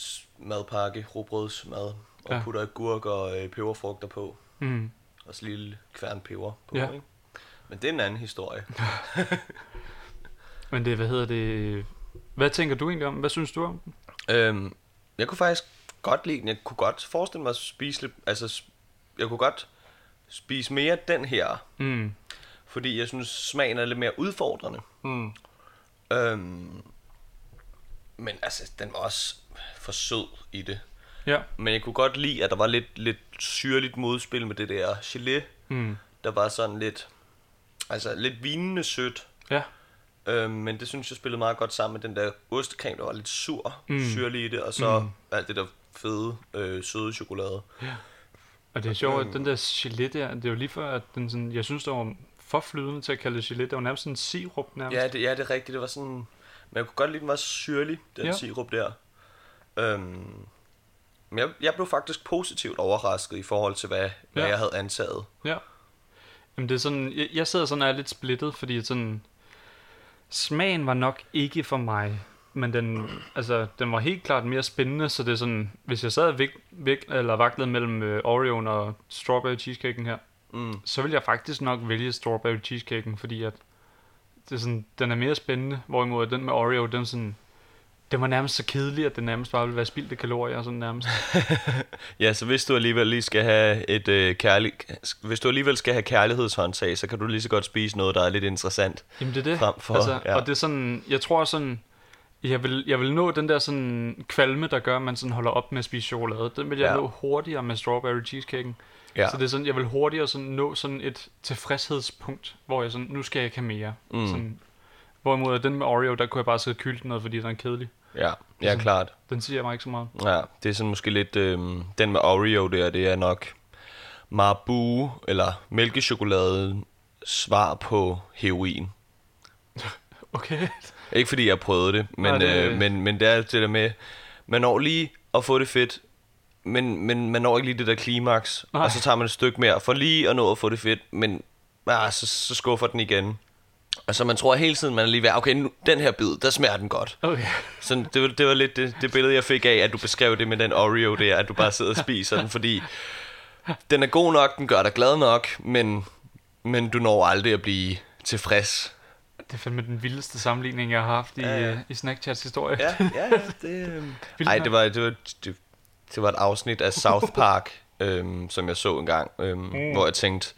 B: s- madpakke, råbrødsmad, og
A: Ja.
B: ja. putter agurk og øh, peberfrugter på,
A: Mm.
B: og så lille kværn peber på,
A: Ja.
B: ja. ikke? Men det er en anden historie.
A: Men det, hvad hedder det... Hvad tænker du egentlig om? Hvad synes du om den?
B: Øhm, jeg kunne faktisk godt lide den. Jeg kunne godt forestille mig at spise lidt, altså, s- jeg kunne godt spise mere af den her,
A: Mm.
B: fordi jeg synes, smagen er lidt mere udfordrende.
A: Mm.
B: Øhm, men altså, den var også for sød i det.
A: Ja.
B: Men jeg kunne godt lide, at der var lidt, lidt syrligt modspil med det der gelé,
A: Mm.
B: der var sådan lidt, altså lidt vinende sødt.
A: Ja.
B: Øhm, men det synes jeg spillede meget godt sammen med den der ostecreme, der var lidt sur, mm. syrlig i det, og så mm. alt det der fede, øh, søde chokolade.
A: Og det er sjovt, at den der gelé der, det er jo lige før, at den sådan... Jeg synes, der var for flydende til at kalde det gelé. Det var nærmest sådan en sirup nærmest.
B: Ja, det, ja, det er rigtigt. Det var sådan... Men jeg kunne godt lide, den var syrlig, den
A: Ja.
B: ja. sirup der. Øhm, men jeg, jeg blev faktisk positivt overrasket i forhold til, hvad, ja. hvad
A: Ja.
B: jeg havde antaget.
A: Ja. Jamen det er sådan, jeg, jeg sidder sådan og er lidt splittet, fordi sådan, smagen var nok ikke for mig, men den, altså, den var helt klart mere spændende, så det er sådan, hvis jeg sad væk, væk, eller vaklede mellem øh, Oreoen og strawberry cheesecaken her,
B: Mm.
A: så ville jeg faktisk nok vælge strawberry cheesecaken, fordi at det er sådan, den er mere spændende, hvorimod den med Oreo, den er sådan, den var nærmest så kedelig, at det nærmest bare ville være spildte kalorier, sådan nærmest.
B: Ja, så hvis du alligevel lige skal have et øh, kærlig... Hvis du alligevel skal have kærlighedshåndtag, så kan du lige så godt spise noget, der er lidt interessant.
A: Jamen det er det.
B: frem for-
A: altså,
B: ja.
A: Og det er sådan, jeg tror sådan, jeg vil, jeg vil nå den der sådan kvalme, der gør, at man sådan holder op med at spise chokolade. Den vil jeg ja.
B: Ja.
A: nå hurtigere med strawberry cheesecaken. Ja. Så det er sådan, jeg vil hurtigere sådan nå sådan et tilfredshedspunkt, hvor jeg sådan, nu skal jeg ikke have mere. Mm. Sådan, hvorimod den med Oreo, der kunne jeg bare sidde og kylde noget, fordi den er kedelig.
B: ja, ja klart.
A: Den siger mig ikke så meget.
B: Ja, det er sådan måske lidt... Øh, den med Oreo der, det er nok Marbu, eller mælkechokolade svar på heroin.
A: Okay.
B: Ikke fordi jeg prøvede det, men,
A: Nej,
B: Nej,
A: det-
B: det... Øh, men, men det er det der med, man når lige at få det fedt, men, men man når ikke lige det der klimaks,
A: Nej.
B: og så tager man et stykke mere for lige at nå at få det fedt, men ah, så, så skuffer den igen. Og så man tror hele tiden, man er lige ved, "Ah, okay, nu, den her bid, der smager den godt.
A: Okay.
B: Sådan, det, var, det var lidt det, det billede, jeg fik af, at du beskrev det med den Oreo der, at du bare sidder og spiser den, fordi den er god nok, den gør dig glad nok, men, men du når aldrig at blive tilfreds
A: Det er fandme den vildeste sammenligning, jeg har haft i,
B: Ja, ja.
A: ja. i Snackchats historie.
B: Ja, ja, ja, det... øhm.
A: Vildt
B: Ej,
A: nok.
B: det var, det, var, det, det var et afsnit af South Park, øhm, som jeg så engang, øhm, mm. hvor jeg tænkte...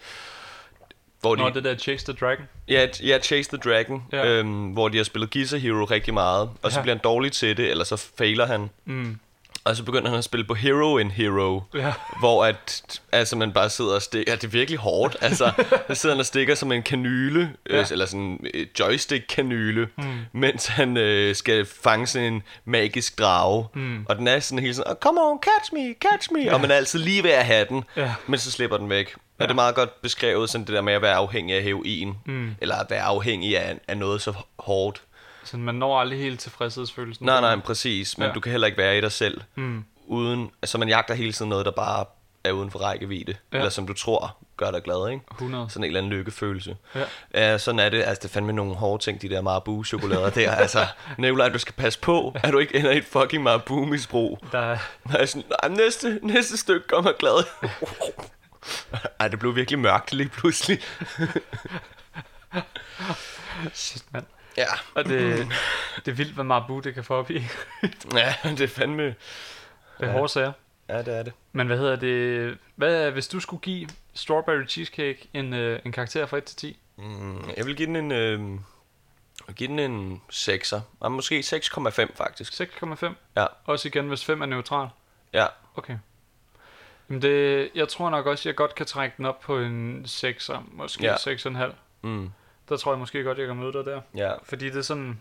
B: Hvor de,
A: Nå, det der Chase the Dragon.
B: Ja, ja, Chase the Dragon,
A: Ja.
B: ja. øhm, hvor de har spillet Giza Hero rigtig meget, og så
A: Ja.
B: bliver han dårlig til det, eller så failer han.
A: Mm.
B: Og så begynder han at spille på Hero in Hero,
A: Ja.
B: hvor at, altså, man bare sidder og stikker. Ja, det er virkelig hårdt. Altså, der sidder han og stikker som en kanyle, ja.
A: Ja. Hmm.
B: øh, eller sådan en joystick-kanyle, mm. mens han øh, skal fange sådan en magisk drage.
A: Hmm.
B: Mm. Og den er sådan hele sådan, oh, come on, catch me, catch me. Ja. Og man er altid lige ved at have den,
A: Ja.
B: men så slipper den væk. Ja. Og det er meget godt beskrevet, sådan det der med at være afhængig af heroin,
A: Hmm.
B: mm. eller at være afhængig af, af noget så hårdt.
A: Så man når aldrig helt tilfredshedsfølelsen.
B: Nej, nej, præcis. Men
A: Ja.
B: ja. du kan heller ikke være i dig selv. Mm. Uden, altså man jagter hele tiden noget, der bare er uden for rækkevidde.
A: Ja.
B: Ja. Eller som du tror gør dig glad, ikke?
A: 100.
B: Sådan en eller anden lykkefølelse.
A: Ja.
B: Ja. Uh, sådan er det. Altså, det er fandme nogle hårde ting, de der Marabu-chokolader der. Altså, Nicolaj, du skal passe på, at du ikke ender i et fucking Marabu-misbrug.
A: Der er,
B: Og jeg sådan, "Ej, næste, næste stykke kommer glad. Ej, det blev virkelig mørkt lige pludselig.
A: shit, mand.
B: Ja,
A: Og det, det er vildt, hvad Marabu det kan få op i.
B: ja det er fandme...
A: Det er hårde sager.
B: Ja, det er det.
A: Men hvad hedder det? Hvad, hvis du skulle give Strawberry Cheesecake en, øh, en karakter fra 1 til 10?
B: Mm, jeg vil give den en... Øh, jeg vil give den en 6'er. Og måske 6,5 faktisk.
A: 6,5?
B: Ja.
A: Også igen, hvis 5 er neutral?
B: Ja.
A: Okay. Jamen det, jeg tror nok også, jeg godt kan trække den op på en 6'er, måske ja.
B: Ja.
A: 6,5.
B: Mm,
A: Der tror jeg måske godt, jeg kan møde dig der.
B: ja.
A: Fordi det er sådan...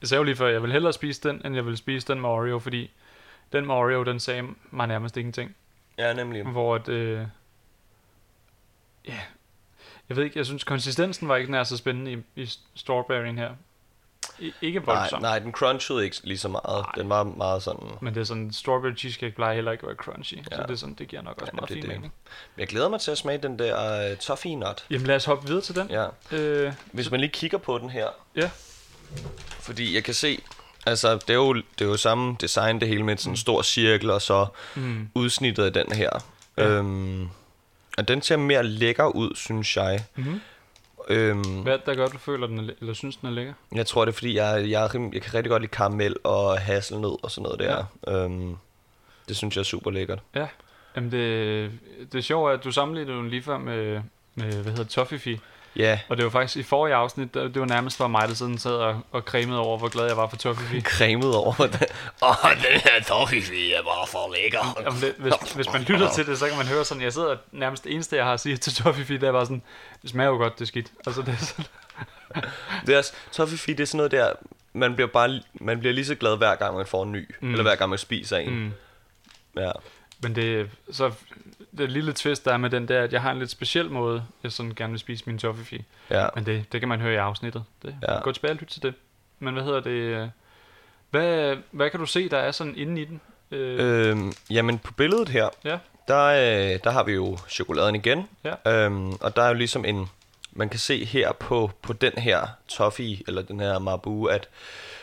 A: Jeg sagde jo lige før, jeg vil hellere spise den, end jeg vil spise den med Oreo, fordi den med Oreo, den sagde mig nærmest ingenting.
B: Ja, nemlig.
A: Hvor at, øh, ja, jeg ved ikke, jeg synes konsistensen var ikke nær så spændende i, i strawberryen her. I, ikke
B: Nej,
A: voldsomt.
B: nej, den crunchede ikke lige så meget.
A: Nej.
B: Den var meget sådan...
A: Men det er sådan, strawberry cheesecake plejer heller ikke at være crunchy, ja. så
B: Ja.
A: det, er sådan, det giver nok også
B: Ja,
A: meget
B: det er
A: fin
B: det.
A: mening.
B: Jeg glæder mig til at smage den der uh, toffee nut.
A: Jamen lad os hoppe videre til den.
B: Ja.
A: Øh,
B: Hvis man lige kigger på den her.
A: ja.
B: Fordi jeg kan se... Altså, det er jo, det er jo samme design, det hele med sådan en stor cirkel, og så
A: Mm.
B: udsnittet af den her.
A: Ja.
B: Ja. Øhm, og den ser mere lækker ud, synes jeg.
A: Mm-hmm.
B: Øhm,
A: Hvad er det, der gør, du føler, den er, læ- eller synes, den er lækker?
B: Jeg tror, det er, fordi jeg, jeg, er rim, jeg kan rigtig godt lide karamel og hasselnød og sådan noget der. Ja. Øhm, det synes jeg er super lækkert.
A: Ja. Jamen det, det sjove er, at du sammenlignede den lige før med, med hvad hedder det, Toffifee.
B: Ja,
A: Og det var faktisk i forrige afsnit, der, det var nærmest var mig, der sådan sad og, og cremede over, hvor glad jeg var for Toffifee.
B: cremet over den. Åh, oh, den her toffee er bare for lækker.
A: Jamen, det, hvis, hvis man lytter til det, så kan man høre sådan, jeg sidder og nærmest det eneste, jeg har at sige til Toffifee, det er bare sådan, det smager jo godt, det er skidt. Altså, det er sådan,
B: Det er, også- toffee det er sådan noget der, man bliver, bare, man bliver lige så glad hver gang, man får en ny. Mm. Eller hver gang, man spiser en.
A: Mm.
B: Mm. Ja.
A: men det, så det lille twist, der er med den der, at jeg har en lidt speciel måde, jeg sådan gerne vil spise min Toffifee.
B: ja.
A: Men det, det kan man høre i afsnittet. Det,
B: Ja.
A: ja. Gå tilbage og lyt til det. Men hvad hedder det? øh, Hvad, hvad kan du se, der er sådan inde i den? Øh, øh.
B: Øhm, jamen, på billedet her,
A: Ja,
B: der, øh, der har vi jo chokoladen igen.
A: Ja.
B: Øhm, og der er jo ligesom en... Man kan se her på, på den her toffee, eller den her marabu, at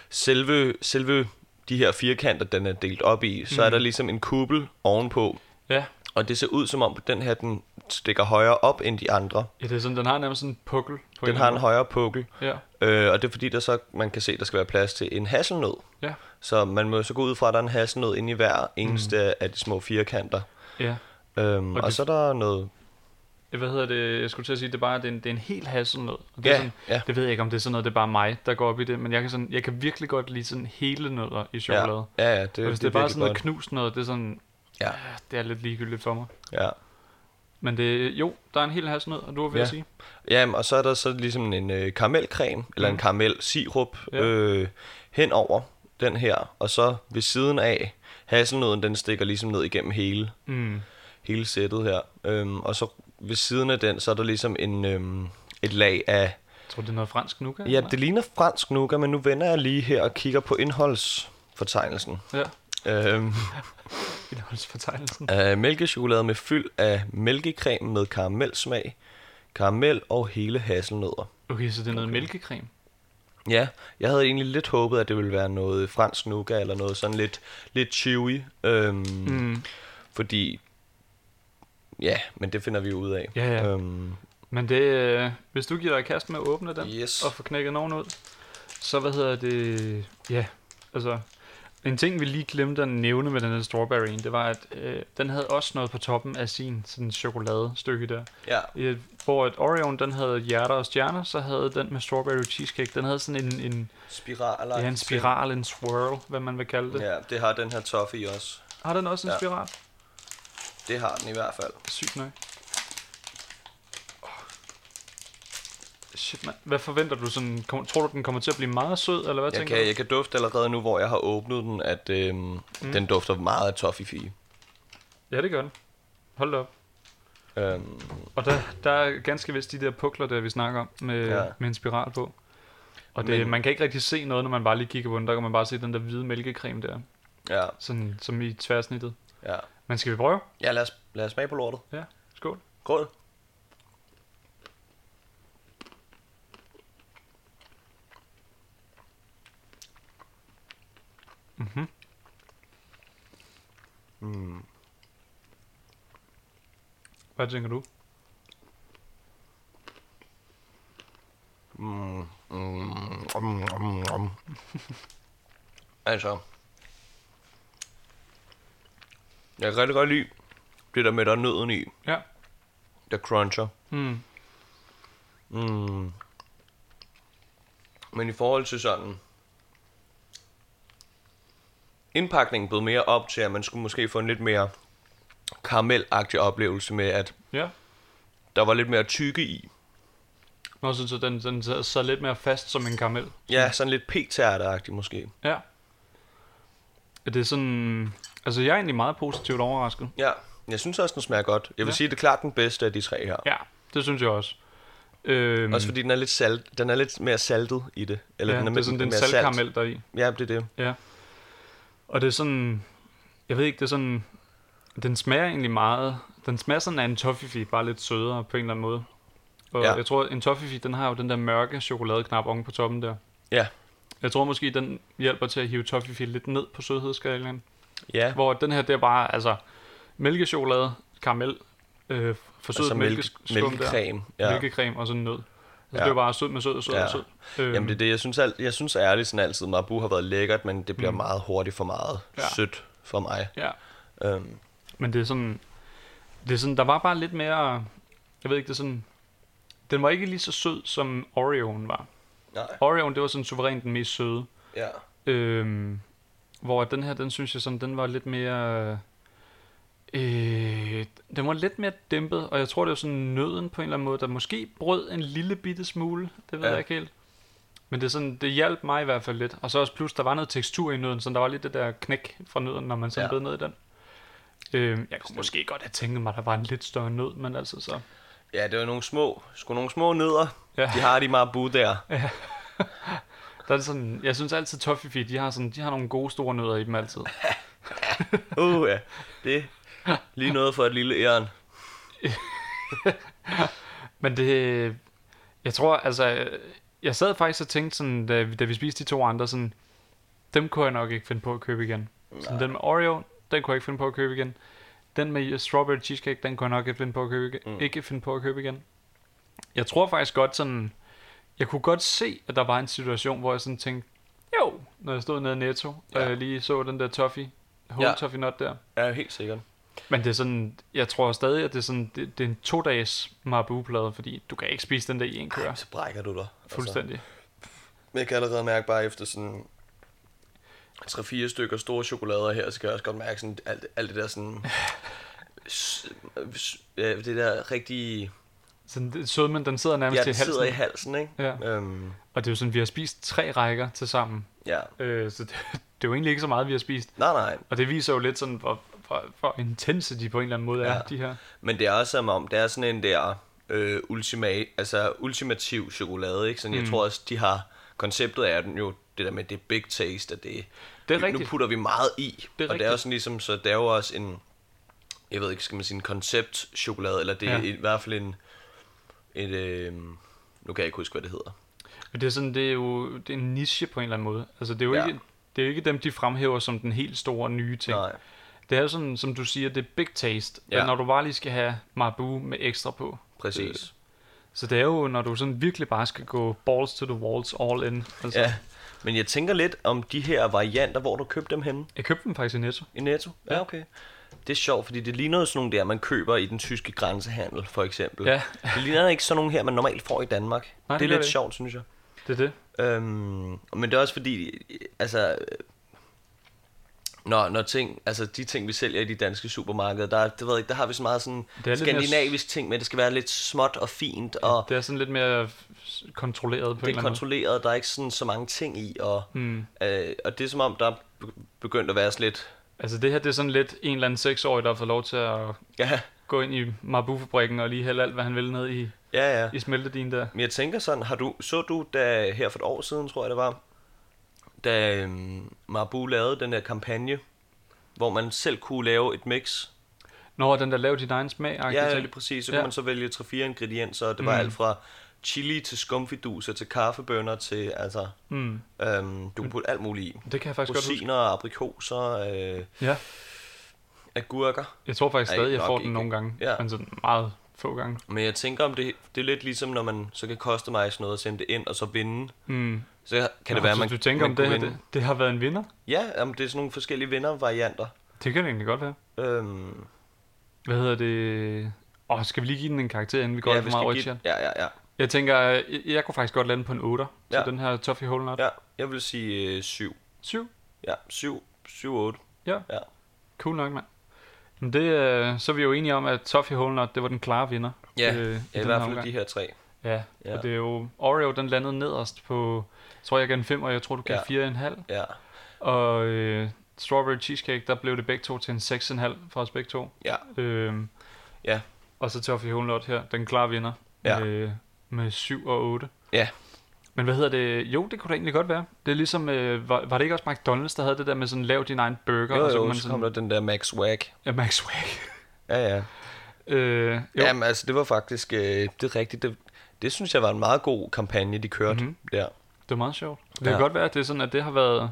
B: selve, selve de her firkanter, den er delt op i, så mm. er
A: Mhm.
B: der ligesom en kuppel ovenpå.
A: ja.
B: Og det ser ud som om, at den her, den stikker højere op end de andre.
A: Ja, det er sådan, den har nærmest sådan en pukkel. På
B: Den har en højere pukkel.
A: Ja,
B: Øh, og det er fordi, der så, man kan se, at der skal være plads til en hasselnød.
A: ja,
B: Så man må jo så gå ud fra, at der er en hasselnød inde i hver eneste mm. af de små firkanter.
A: ja.
B: Øhm,
A: Mhm. Og
B: og, og
A: det-
B: så er der noget
A: Ja, Hvad hedder det? Jeg skulle til at sige, det er bare det er en, det er en helt hasselnød. Og det, er
B: Ja,
A: sådan,
B: ja.
A: det ved jeg ikke, om det er sådan noget, det er bare mig, der går op i det. Men jeg kan, sådan, jeg kan virkelig godt lide sådan hele nødder i chokolade.
B: Ja, ja, ja det,
A: Ja, det, hvis Altså, det, er bare sådan noget knust noget, det er sådan,
B: Ja.
A: ah, det er lidt ligegyldigt for mig.
B: Ja.
A: Men det, jo, der er en hel hasselnød, og du var ved
B: Ja.
A: at sige.
B: Jamen, og så er der så ligesom en øh, karamelcreme, eller en karamel-sirup,
A: Mm. Ja.
B: øh, hen over den her, og så ved siden af hasselnøden, den stikker ligesom ned igennem hele,
A: Mm.
B: hele sættet her. Øhm, og så ved siden af den, så er der ligesom en, øhm, et lag af...
A: Jeg tror, det er noget fransk nu, kan
B: Ja, det ligner fransk nougat, men nu vender jeg lige her og kigger på indholdsfortegnelsen.
A: Ja,
B: Øhm,
A: indholdsfortegnelsen.
B: af mælkechokolade med fyld af mælkecreme med karamelsmag, karamel og hele hasselnødder.
A: Okay, så det er noget mælkecreme.
B: Ja, jeg havde egentlig lidt håbet, at det ville være noget fransk nougat, eller noget sådan lidt, lidt chewy. Øhm,
A: Mm. Hmm.
B: mm. Fordi, ja, men det finder vi jo ud af.
A: Ja, ja.
B: Øhm,
A: Men det, øh, hvis du giver dig i kast med at åbne den,
B: Yes.
A: og få knækket nogen ud, så hvad hedder det, ja, altså, en ting vi lige glemte at nævne med den her strawberry, det var, at øh, den havde også noget på toppen af sin sådan chokoladestykke der.
B: Ja.
A: Øh, Hvor at Oreoen, den havde hjerter og stjerner, så havde den med strawberry cheesecake, den havde sådan en, en,
B: Spiraler.
A: ja, en spiral, en swirl, hvad man vil kalde det.
B: Ja, det har den her toffee også.
A: Har den også en
B: Ja.
A: spiral?
B: Det har den i hvert fald.
A: Sygt nok. Åh. Shit, man. Hvad forventer du sådan? Kom, tror du, den kommer til at blive meget sød, eller hvad
B: Jeg
A: tænker
B: kan,
A: du?
B: jeg kan dufte allerede nu, hvor jeg har åbnet den, at øhm, mm. den dufter meget af toffee
A: Ja, det gør den. Hold da op.
B: øhm,
A: Og der, der er ganske vist de der pukler, der vi snakker om, med, ja.
B: Ja.
A: med en spiral på. Og det, Men...
B: Men-
A: man kan ikke rigtig se noget, når man bare lige kigger på den. Der kan man bare se den der hvide mælkecreme der,
B: Ja,
A: sådan, som i tværsnittet.
B: ja.
A: Men skal vi prøve?
B: Ja, lad os, lad os smage på lortet.
A: Ja, skål.
B: Skål.
A: Mhm.
B: Mm.
A: Hvad tænker du?
B: Mm. Mm. Mm. Mm. Mm. altså. Jeg kan rigtig godt lide det der med, der er nøden i.
A: Ja.
B: Der cruncher.
A: Mm.
B: Mm. Men i forhold til sådan... Indpakningen blev mere op til, at man skulle måske få en lidt mere karamelagtig oplevelse med, at
A: Ja.
B: der var lidt mere tykke i.
A: Nå, så, så den, den sad, sad lidt mere fast som en karamel.
B: Ja, sådan lidt p måske.
A: Ja. Er Det er sådan... Altså, jeg er egentlig meget positivt overrasket.
B: Ja, jeg synes også, den smager godt. Jeg
A: Ja.
B: vil ja. sige, det er klart den bedste af de tre her.
A: Ja, det synes jeg også. Øhm,
B: Mm. Også fordi den er, lidt salt, den er lidt mere saltet i det. Eller
A: ja,
B: den er,
A: det er sådan, den
B: mere salt.
A: saltkaramel der er i.
B: Ja, det er det.
A: Ja. Og det er sådan... Jeg ved ikke, det er sådan... Den smager egentlig meget... Den smager sådan af en toffee, bare lidt sødere på en eller anden måde. Og ja.
B: Ja.
A: jeg tror, en toffee, den har jo den der mørke chokoladeknap oven på toppen der.
B: Ja.
A: Jeg tror måske, den hjælper til at hive toffee lidt ned på sødhedsskalaen.
B: Ja,
A: Hvor den her, det er bare, altså, mælkechokolade, karamel, øh, forsødet
B: altså
A: altså
B: mælke,
A: mælkeskum der,
B: mælkecreme. Ja.
A: mælkecreme og sådan nød. Altså, ja.
B: Ja.
A: det er jo bare sød med sød og sød ja.
B: Ja.
A: og sød. Øhm,
B: Jamen det er det, jeg synes, alt, jeg synes ærligt sådan altid, Marabu har været lækkert, men det bliver mm. meget hurtigt for meget
A: Ja.
B: ja. sødt for mig.
A: Ja,
B: Øhm,
A: men det er sådan, det er sådan, der var bare lidt mere, jeg ved ikke, det er sådan, den var ikke lige så sød, som Oreoen var.
B: nej,
A: Oreoen, det var sådan suverænt den mest søde.
B: ja.
A: Øhm, hvor den her, den synes jeg sådan, den var lidt mere... Øh, den var lidt mere dæmpet, og jeg tror, det var sådan nøden på en eller anden måde, der måske brød en lille bitte smule, det ved ja.
B: Ja.
A: jeg ikke helt. Men det, er sådan, det hjalp mig i hvert fald lidt. Og så også plus, der var noget tekstur i nøden, så der var lidt det der knæk fra nøden, når man sådan ja.
B: Ja.
A: bed ned i den. Øh, jeg kunne måske godt have tænkt mig, at der var en lidt større nød, men altså så...
B: Ja, det var nogle små, sgu nogle små nødder,
A: Ja.
B: ja. de har de Marabu der.
A: Der er det sådan, jeg synes altid, Toffee de har, sådan, de har nogle gode store nødder i dem altid.
B: Uh, ja. Det er lige noget for et lille æren.
A: Men det... Jeg tror, altså... øh, Jeg sad faktisk og tænkte sådan, da, vi- da vi spiste de to andre, sådan... Dem kunne jeg nok ikke finde på at købe igen. Sådan, den med Oreo, den kunne jeg ikke finde på at købe igen. Den med strawberry cheesecake, den kunne jeg nok ikke finde på at købe, mm.
B: Mm.
A: ikke finde på at købe igen. Jeg tror faktisk godt sådan... Jeg kunne godt se, at der var en situation, hvor jeg sådan tænkte, jo, når jeg stod nede i Netto, ja. og
B: Ja.
A: jeg lige så den der toffee, whole ja.
B: Ja.
A: toffee nut der.
B: Ja, helt sikkert.
A: Men det er sådan, jeg tror stadig, at det er sådan, det, det er en to-dages marabu-plade, fordi du kan ikke spise den der i en køre.
B: Så brækker du dig. Altså.
A: Fuldstændig.
B: Men jeg kan allerede mærke bare efter sådan 3-4 stykker store chokolader her, så kan jeg også godt mærke sådan alt, alt det der sådan... s- s- ja, det der rigtige...
A: Sådan, det, sødmen, den sidder nærmest
B: Ja,
A: i
B: det sidder
A: halsen.
B: i halsen, ikke?
A: Ja.
B: Øhm,
A: Og det er jo sådan, vi har spist tre rækker til sammen.
B: ja.
A: Øh, så det, det, er jo egentlig ikke så meget, vi har spist.
B: Nej, nej.
A: Og det viser jo lidt sådan, hvor, hvor, hvor intense de på en eller anden måde er,
B: Ja.
A: de her.
B: Men det er også som om, det er sådan en der øh, ultima, altså ultimativ chokolade, ikke? Sådan, mm. Jeg tror også, de har konceptet af den jo, det der med det big taste, at det,
A: Det er
B: nu-
A: rigtigt.
B: nu putter vi meget i. Det og det
A: rigtigt.
B: er også sådan ligesom, så det er jo også en, jeg ved ikke, skal man sige en koncept chokolade, eller det er
A: Ja.
B: ja. i hvert fald en, et, øh, nu kan jeg ikke huske, hvad det hedder.
A: Men det er sådan, det er jo det er en niche på en eller anden måde. Altså, det er jo
B: Ja.
A: ikke... Det er jo ikke dem, de fremhæver som den helt store nye ting.
B: Nej.
A: Det er jo sådan, som du siger, det er big taste. Ja.
B: Ja.
A: Men når du bare lige skal have Marabu med ekstra på.
B: Præcis.
A: Så det er jo, når du sådan virkelig bare skal gå balls to the walls all in. Altså,
B: Ja. Men jeg tænker lidt om de her varianter, hvor du købte dem henne
A: Jeg købte dem faktisk i Netto.
B: i Netto. Ja, okay. Det er sjovt, fordi det ligner jo sådan nogle der, man køber i den tyske grænsehandel, for eksempel.
A: Ja.
B: Det ligner ikke sådan nogle her, man normalt får i Danmark.
A: Nej, det
B: det er
A: gør
B: lidt
A: det ikke.
B: sjovt, synes jeg.
A: Det er det.
B: Øhm, men det er også fordi, altså, øh, når, når ting, altså de ting, vi sælger i de danske supermarkeder, der, er- det ved jeg, ikke, der har vi så meget sådan
A: lidt mere s-
B: skandinavisk ting med, at det skal være lidt småt og fint, og
A: Det er sådan lidt mere kontrolleret på en
B: det er
A: eller anden måde.
B: kontrolleret, der er ikke sådan så mange ting i, og,
A: Hmm.
B: øh, og det er som om, der er be- begyndt at være sådan lidt,
A: Altså det her, det er sådan lidt en eller anden seksårig, der har fået lov til at
B: ja,
A: gå ind i Marbu-fabrikken og lige hælde alt, hvad han ville ned i,
B: ja, ja.
A: i smeltedin der.
B: Men jeg tænker sådan, har du, så du da her for et år siden, tror jeg det var, da øhm, Marbu lavede den her kampagne, hvor man selv kunne lave et mix
A: Nå, den der lav din egen smag
B: Ja,
A: ja,
B: lige præcis. Så
A: Ja.
B: kunne man så vælge 3-4 ingredienser, og det var
A: Mm.
B: alt fra chili til skumfiduser til kaffebønner til, altså,
A: mm,
B: øhm, du kunne putte alt muligt i.
A: Det kan jeg faktisk godt huske.
B: Rosiner, aprikoser, øh,
A: Ja,
B: agurker.
A: jeg tror faktisk
B: Ej,
A: stadig, jeg
B: nok
A: får den
B: ikke.
A: nogle gange.
B: Ja.
A: Men sådan meget få gange.
B: Men jeg tænker om det, det er lidt ligesom, når man så kan customize noget og sende det ind og så vinde.
A: Mm.
B: Så kan
A: Nå,
B: det være,
A: så
B: man
A: du tænker
B: man
A: om det
B: kunne
A: her,
B: vinde.
A: det, det har været en vinder?
B: Ja, jamen, det er sådan nogle forskellige vinder-varianter.
A: Det kan det egentlig godt være.
B: Øhm,
A: Hvad hedder det? Åh, oh, skal vi lige give den en karakter, inden vi går ja, alt for meget
B: give,
A: rødt
B: ja, ja, ja,
A: Jeg tænker, jeg, jeg kunne faktisk godt lande på en 8'er ja.
B: Ja.
A: til den her Toffee Hole Nut.
B: ja. Jeg vil sige 7.
A: 7?
B: Ja, 7, 7, 8.
A: Ja.
B: Ja.
A: Cool nok, mand. Men det, øh, så er vi jo enige om, at Toffee Hole Nut, det var den klare vinder.
B: Ja,
A: øh,
B: ja i
A: den her
B: hvert fald
A: omgang.
B: de her tre.
A: Ja,
B: Ja.
A: og det er jo... Oreo, den landede nederst på... Jeg tror, jeg gav den 5, og jeg tror, du gav
B: Ja.
A: ja. 4,5.
B: Ja,
A: Og øh, Strawberry Cheesecake, der blev det begge to til en 6,5 for os begge to.
B: ja.
A: Øhm,
B: Ja.
A: Og så Toffee Hole Nut her, den klare vinder.
B: Ja.
A: Med, med 7 og 8.
B: Ja.
A: Men hvad hedder det? Jo, det kunne det egentlig godt være. Det er ligesom, øh, var, var det ikke også McDonald's, der havde det der med sådan, lav din egen burger?
B: Jo,
A: og så kunne
B: jo,
A: man
B: så, så
A: sådan,
B: kom der den der Max Wag.
A: Ja, Max Wack.
B: Ja, ja.
A: Øh, jo.
B: Jamen, altså, det var faktisk, øh, det er rigtigt. Det, det synes jeg var en meget god kampagne, de kørte
A: Mhm.
B: mm-hmm. der.
A: Det er meget sjovt. Det
B: Ja.
A: kan godt være, at det er sådan, at det har været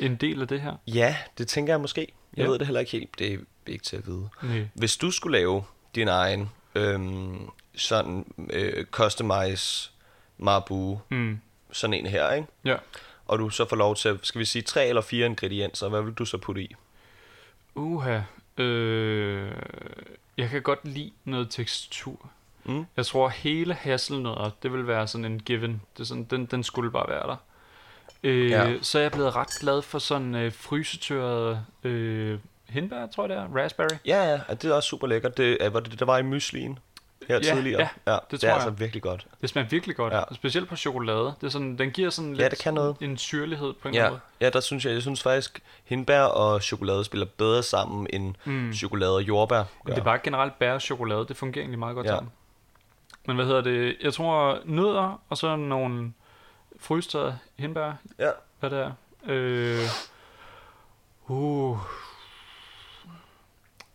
A: en del af det her.
B: Ja, det tænker jeg måske. Jeg
A: Ja.
B: ja. ved det heller ikke helt. Det er ikke til at vide.
A: Nej.
B: Hvis du skulle lave din egen øhm, sådan øh, customize Marbu,
A: Mm.
B: sådan en her, ikke?
A: Ja.
B: Og du så får lov til, at- skal vi sige, tre eller fire ingredienser, hvad vil du så putte i?
A: Uha. Øh, jeg kan godt lide noget tekstur.
B: Mm?
A: Jeg tror, hele hasselnødder, det vil være sådan en given. Det er sådan, den, den skulle bare være der. Øh,
B: Ja.
A: Så er jeg blevet ret glad for sådan øh, frysetørret øh, hindbær, tror jeg det er. Raspberry.
B: Ja, ja, og det er også super lækkert. Det, øh, var det det, der var i myslien her
A: Ja,
B: tidligere?
A: ja,
B: ja,
A: det
B: det,
A: tror
B: det er
A: jeg.
B: altså virkelig godt.
A: Det smager virkelig godt.
B: Ja.
A: Ja. Specielt på chokolade. Det er sådan, den giver sådan lidt
B: Ja, det kan noget.
A: en syrlighed på en eller
B: Ja,
A: anden
B: ja, der synes jeg, jeg synes faktisk, hindbær og chokolade spiller bedre sammen end
A: måde. Mm.
B: chokolade og jordbær.
A: Men det er bare generelt bær og chokolade, det fungerer egentlig meget godt ja.
B: Ja.
A: sammen. Men hvad hedder det? Jeg tror nødder, og så nogle frystede hindbær,
B: Ja.
A: hvad det er. Øh, uh.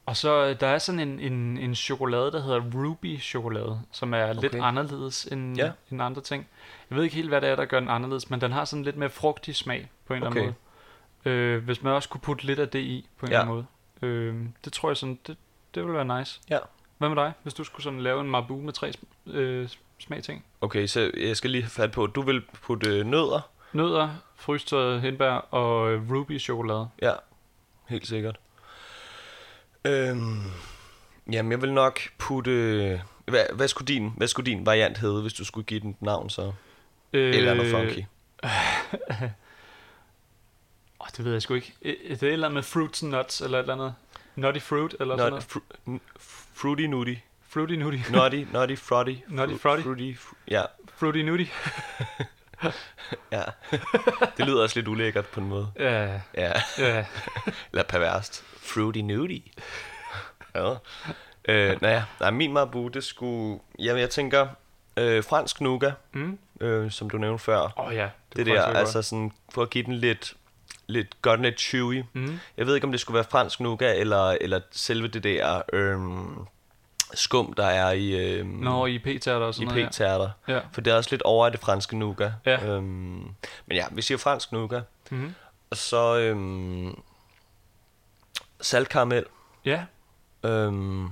A: Og så øh, der er sådan en, en, en chokolade, der hedder Ruby chokolade, som er okay. lidt
B: Okay.
A: anderledes end, ja.
B: Ja.
A: end andre ting. Jeg ved ikke helt, hvad det er, der gør den anderledes, men den har sådan lidt mere frugtig smag på en okay. eller
B: Okay.
A: anden måde. Øh, hvis man også kunne putte lidt af det i på en
B: Ja.
A: eller anden måde. Øh, det tror jeg sådan, det, det ville være nice.
B: Ja.
A: Hvad med dig, hvis du skulle sådan lave en marbu med tre sm- øh, smagting?
B: Okay, så jeg skal lige have fat på, du vil putte øh, nødder?
A: Nødder, frystørret hindbær og øh, Ruby chokolade.
B: Ja, helt sikkert. Øhm, jamen, jeg vil nok putte... Hvad, hvad, skulle din, hvad skulle din variant hedde, hvis du skulle give den et navn så?
A: Øh,
B: Et Eller noget funky.
A: Åh, det ved jeg sgu ikke. Øh, Det er et eller andet med fruits and nuts, eller et eller andet. Nutty fruit, eller sådan
B: Not,
A: noget.
B: fru, n- fruity nutty.
A: Fruity nutty.
B: Nutty, nutty, frotty.
A: Nutty
B: fru-
A: frotty.
B: Fruity, fru- ja,
A: Fruity nutty.
B: ja. det lyder også lidt ulækkert på en måde.
A: Ja,
B: Ja.
A: ja.
B: Eller perverst. Fruity nudie. ja. Øh, naja, nej, min marabu, det skulle... Jamen, jeg tænker øh, fransk nougat,
A: Mm.
B: øh, som du nævnte før.
A: Åh oh, ja,
B: Det, det
A: kunne
B: der,
A: faktisk være
B: altså sådan, for at give den lidt, lidt godt lidt chewy.
A: Godt. Mm.
B: Jeg ved ikke, om det skulle være fransk nougat, eller, eller selve det der øhm, skum, der er i, øhm,
A: Nå, i p-tærter og
B: i
A: sådan noget.
B: p-tærter.
A: Ja. ja.
B: For det er også lidt over af det franske nougat.
A: Ja.
B: Øhm, men ja, vi siger fransk nougat.
A: Mm.
B: Og så øhm, saltkaramel.
A: ja.
B: Øhm,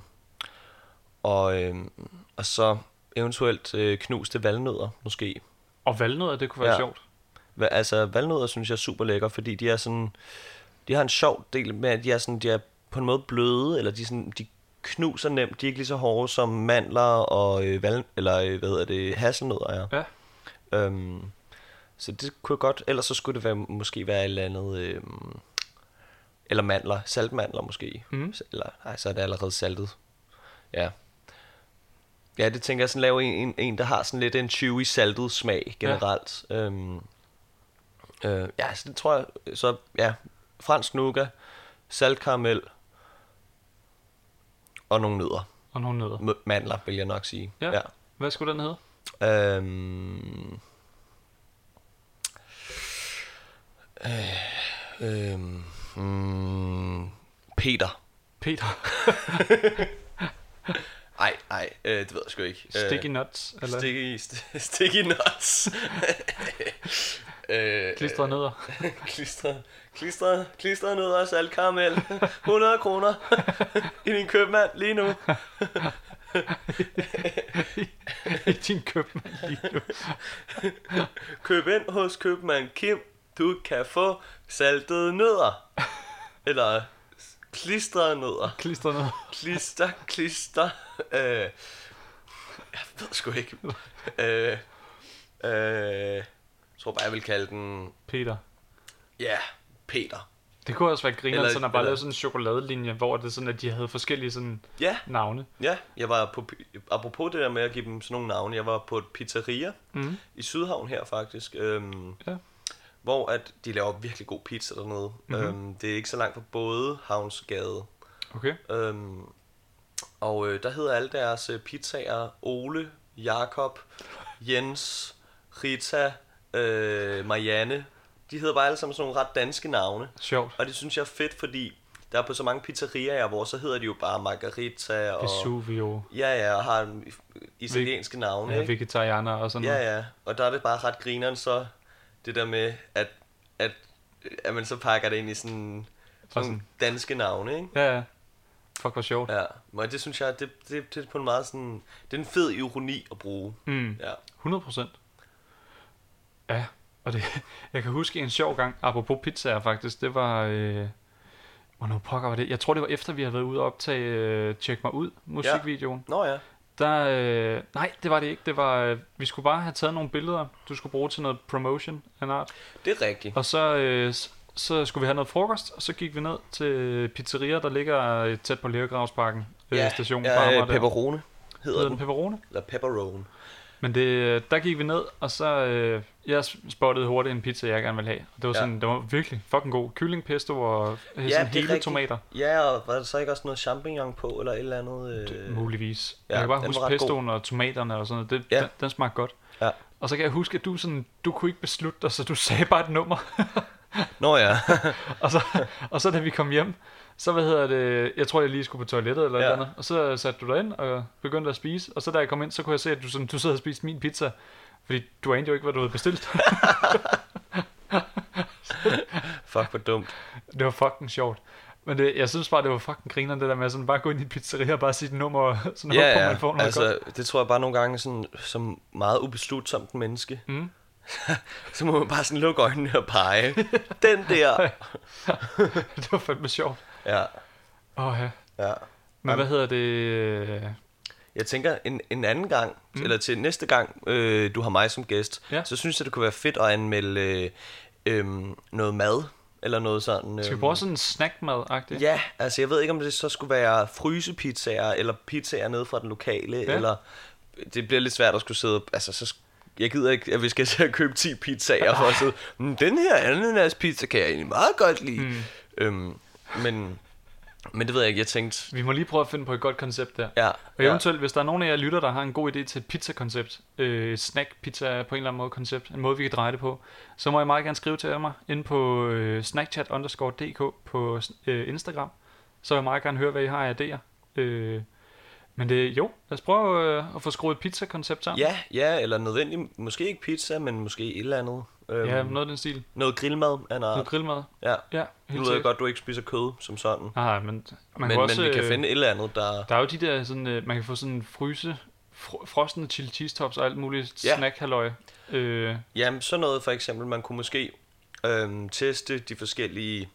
B: og, øhm, og så eventuelt øh, knuste valnødder, måske.
A: Og valnødder, det kunne være ja.
B: Ja.
A: sjovt.
B: Hva- Altså, valnødder synes jeg er super lækker, fordi de er sådan... De har en sjov del med, at de er, sådan, de er på en måde bløde, eller de, er sådan, de knuser nemt. De er ikke lige så hårde som mandler og øh, val, eller, øh, hvad hedder det, hasselnødder er.
A: Ja.
B: Øhm, så det kunne jeg godt. Ellers så skulle det være, måske være et eller andet... Øhm, eller mandler. Saltmandler måske.
A: Mm.
B: Eller, nej, så er det allerede saltet. Ja. Ja, det tænker jeg sådan lave en, en, en der har sådan lidt en chewy saltet smag generelt. Ja. Øhm, øh, ja, så det tror jeg, så ja, fransk nougat, saltkaramel og nogle nødder.
A: Og nogle nødder.
B: M- mandler, vil jeg nok sige.
A: Ja. Hvad skulle den hedde?
B: ja. Øhm, øh, øhm, mm, Peter.
A: Peter.
B: Ej, ej, øh, det ved jeg sgu ikke.
A: Sticky nuts. Eller Stik.
B: Sticky, st- sticky nuts. øh,
A: klistrede nødder.
B: øh, klistret, klistret, klistret ned også alt karamel. 100 kroner i din købmand lige nu.
A: I din købmand lige nu.
B: Køb ind hos købmand Kim. Du kan få saltede nødder. Eller klistrede nødder.
A: Klistrede nødder.
B: Klister, klister. Øh, jeg ved sgu ikke. Øh, øh, jeg tror bare, jeg vil kalde den
A: Peter.
B: Ja, Peter.
A: Det kunne også være griner,
B: Eller-
A: sådan at bare
B: eller-
A: lave sådan en chokoladelinje, hvor det er sådan, at de havde forskellige sådan
B: Ja,
A: navne.
B: ja. Jeg var på, apropos det der med at give dem sådan nogle navne, jeg var på et pizzeria
A: Mm.
B: i Sydhavn her faktisk, øhm,
A: Ja.
B: hvor at de laver virkelig god pizza dernede. Mm-hmm. Øhm, det er ikke så langt fra både Havnsgade.
A: Okay.
B: Øhm, og øh, der hedder alle deres øh, pizzaer Ole, Jakob, Jens, Rita, øh, Marianne. De hedder bare alle sammen sådan nogle ret danske navne.
A: Sjovt.
B: Og det synes jeg er fedt, fordi der er på så mange pizzeriaer, hvor så hedder de jo bare Margarita og...
A: Vesuvio.
B: Ja, ja, og har en- italienske navne,
A: Ja,
B: ikke?
A: vegetarianer og sådan noget.
B: Ja, ja, og der er det bare ret grineren så, det der med, at, at, at man så pakker det ind i sådan
A: Og
B: nogle danske navne, ikke?
A: Ja, ja. Fuck, hvor sjovt.
B: Ja, men det synes jeg, det, det, det er på en meget sådan, det er en fed ironi at bruge.
A: Mm.
B: Ja.
A: 100 procent. Ja, og det, jeg kan huske en sjov gang, apropos pizzaer faktisk, det var, øh, hvornår pokker var det? Jeg tror, det var efter, vi havde været ude og optage øh, Tjek mig ud, musikvideoen.
B: Nå ja,
A: Der, øh, nej, det var det ikke. Det var, øh, vi skulle bare have taget nogle billeder, du skulle bruge til noget promotion af en art.
B: det er rigtigt.
A: Og så, øh, s- så skulle vi have noget frokost, og så gik vi ned til pizzeria, der ligger øh, tæt på Lergravsparken øh, stationen. Barmer
B: ja,
A: der.
B: øh, pepperone hedder
A: Hedder den
B: den.
A: Pepperone?
B: Eller pepperone.
A: Men det, øh, der gik vi ned, og så øh, jeg spottede hurtigt en pizza, jeg gerne ville have. Og det var
B: Ja.
A: sådan, det var virkelig fucking god. Kyllingpesto og øh,
B: det er
A: sådan hele
B: rigtigt.
A: tomater,
B: Ja, og var der så ikke også noget champignon på, eller et eller andet? Øh...
A: øh, muligvis.
B: ja,
A: jeg kan bare
B: den var
A: huske
B: ret god.
A: pestoen og tomaterne og sådan noget. Det,
B: Ja.
A: den, den smagte godt.
B: Ja.
A: Og så kan jeg huske, at du, sådan, du kunne ikke beslutte dig, så du sagde bare et nummer.
B: Nå ja.
A: og, så, og så da vi kom hjem, så hvad hedder det, jeg tror jeg lige skulle på toilettet eller ja.
B: Ja.
A: noget andet, og så satte du dig ind og begyndte at spise, og så da jeg kom ind, så kunne jeg se, at du, sådan, du sad og spiste min pizza, fordi du anede jo ikke, hvad du havde bestilt.
B: Fuck, hvor dumt.
A: Det var fucking sjovt. Men det, jeg synes bare, det var fucking grineren, det der med sådan bare gå ind i en pizzeria og bare sige et nummer, og sådan håbe på, man får noget altså... godt.
B: altså, det tror jeg bare nogle gange sådan, som meget ubeslutsomt menneske.
A: Mm.
B: så må man bare sådan lukke øjnene og pege. Den der.
A: Det var fandme sjovt.
B: Ja,
A: Åh ja.
B: ja.
A: Men hvad hedder det? Øh,
B: Jeg tænker, en, en anden gang, mm. eller til næste gang, øh, du har mig som gæst,
A: Ja.
B: ja. så synes jeg, det kunne være fedt at anmelde øh, øh, noget mad, eller noget sådan. Øh,
A: Skal vi prøve sådan en snackmad-agtig?
B: Ja, altså jeg ved ikke, om det så skulle være frysepizzaer, eller pizzaer nede fra den lokale,
A: Ja.
B: ja. eller... Det bliver lidt svært at skulle sidde... Altså, så sk- jeg gider ikke, at vi skal til at købe 10 pizzaer for at sidde... Mm, den her ananas pizza kan jeg egentlig meget godt lide. Mm. Øhm, men, men det ved jeg ikke, jeg tænkte...
A: Vi må lige prøve at finde på et godt koncept der.
B: Ja,
A: Og eventuelt, hvis der er nogen af jer lytter, der har en god idé til et pizza-koncept, øh, snack-pizza på en eller anden måde koncept, en måde, vi kan dreje det på, så må I meget gerne skrive til mig inde på øh, snackchat underscore dk på øh, Instagram. Så vil jeg meget gerne høre, hvad I har af idéer. Øh, men det, jo, lad os prøve øh, at få skruet et pizza-koncept sammen.
B: ja, ja, eller nødvendigt. Måske ikke pizza, men måske et eller andet. Øhm,
A: ja
B: ja.
A: noget af den stil.
B: Noget grillmad af en
A: Noget
B: art.
A: grillmad.
B: Ja.
A: Ja,
B: Nu
A: helt
B: ved jeg
A: sikkert.
B: godt, du ikke spiser kød som sådan.
A: Nej, men man
B: men,
A: kan også,
B: men vi kan
A: øh,
B: finde et eller andet, der...
A: Der er jo de der sådan, øh, man kan få sådan en fryse fro- frosne chili cheese tops og alt muligt
B: Ja.
A: ja. snack-halløj. Øh,
B: Jamen, sådan noget for eksempel, man kunne måske øhm, teste de forskellige,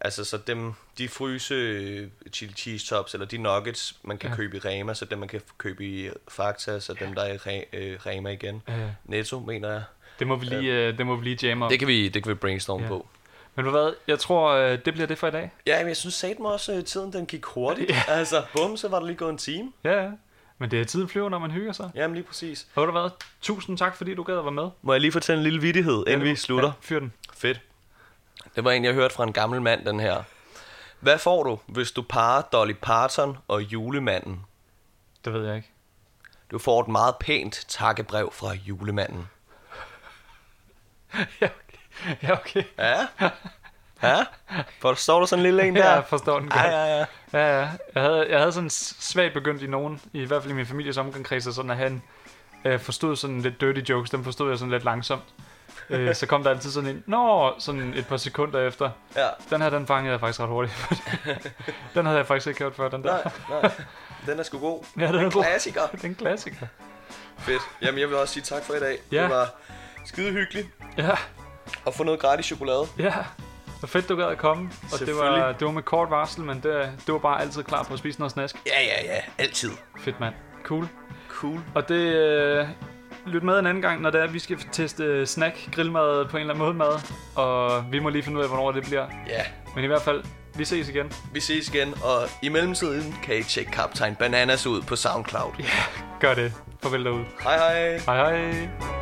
B: altså så dem, de fryse øh, chili cheese tops, eller de nuggets, man kan
A: Ja.
B: ja. købe i Rema, så dem, man kan f- købe i øh, Fakta, så dem, der er i Re- øh, Rema igen.
A: øh,
B: Netto, mener jeg.
A: det, må vi lige, øh, det må vi lige jamme om.
B: Det kan vi, det kan vi brainstorme
A: Ja.
B: ja. på.
A: Men ved du hvad, jeg tror, øh, det bliver det for i dag.
B: Ja, men jeg synes satme også, at tiden den gik hurtigt. Ja. Altså, bum, så var der lige gået en time.
A: Ja, ja. Men det er tiden flyver, når man hygger sig.
B: Jamen, lige præcis.
A: Og ved du hvad, tusind tak, fordi du gad at være med.
B: Må jeg lige fortælle en lille vittighed, inden vi slutter?
A: Ja, fyr den.
B: Fedt. Det var en, jeg hørte fra en gammel mand, den her. Hvad får du, hvis du parer Dolly Parton og julemanden?
A: Det ved jeg ikke.
B: Du får et meget pænt takkebrev fra julemanden.
A: ja, okay. Ja, okay.
B: Ja? Ja? Forstår du sådan en lille en
A: Ja,
B: der?
A: jeg forstår den godt.
B: Ja, ja, ja.
A: Ja, ja. Jeg havde, jeg havde sådan s- svagt begyndt i nogen, i hvert fald i min families omgangskreds, at sådan at han øh, forstod sådan lidt dirty jokes, dem forstod jeg sådan lidt langsomt. øh, så kom der altid sådan en, nå, sådan et par sekunder efter.
B: ja.
A: Den her, den fangede jeg faktisk ret hurtigt. den havde jeg faktisk ikke hørt før, den der.
B: Nej, nej. Den er sgu god.
A: Ja, den er god.
B: Klassiker.
A: Det er en klassiker.
B: Fedt. Jamen, jeg vil også sige tak for i dag.
A: Ja.
B: Det var skide hyggeligt
A: Ja,
B: at få noget gratis chokolade.
A: ja. Hvor fedt, du gad at komme. Og det var,
B: Selvfølgelig.
A: det var med kort varsel, men det, det var bare altid klar på at spise noget snask.
B: Ja, ja, ja. Altid.
A: Fedt, mand. Cool.
B: Cool.
A: Og det... Øh, lyt med en anden gang, når det er, at vi skal teste øh, snack, grillmad på en eller anden måde mad. Og vi må lige finde ud af, hvornår det bliver.
B: Ja.
A: Men i hvert fald, vi ses igen.
B: Vi ses igen, og i mellemtiden kan I tjekke Kaptajn Bananas ud på SoundCloud.
A: Gør det. Farvel derude.
B: Hej hej.
A: Hej hej.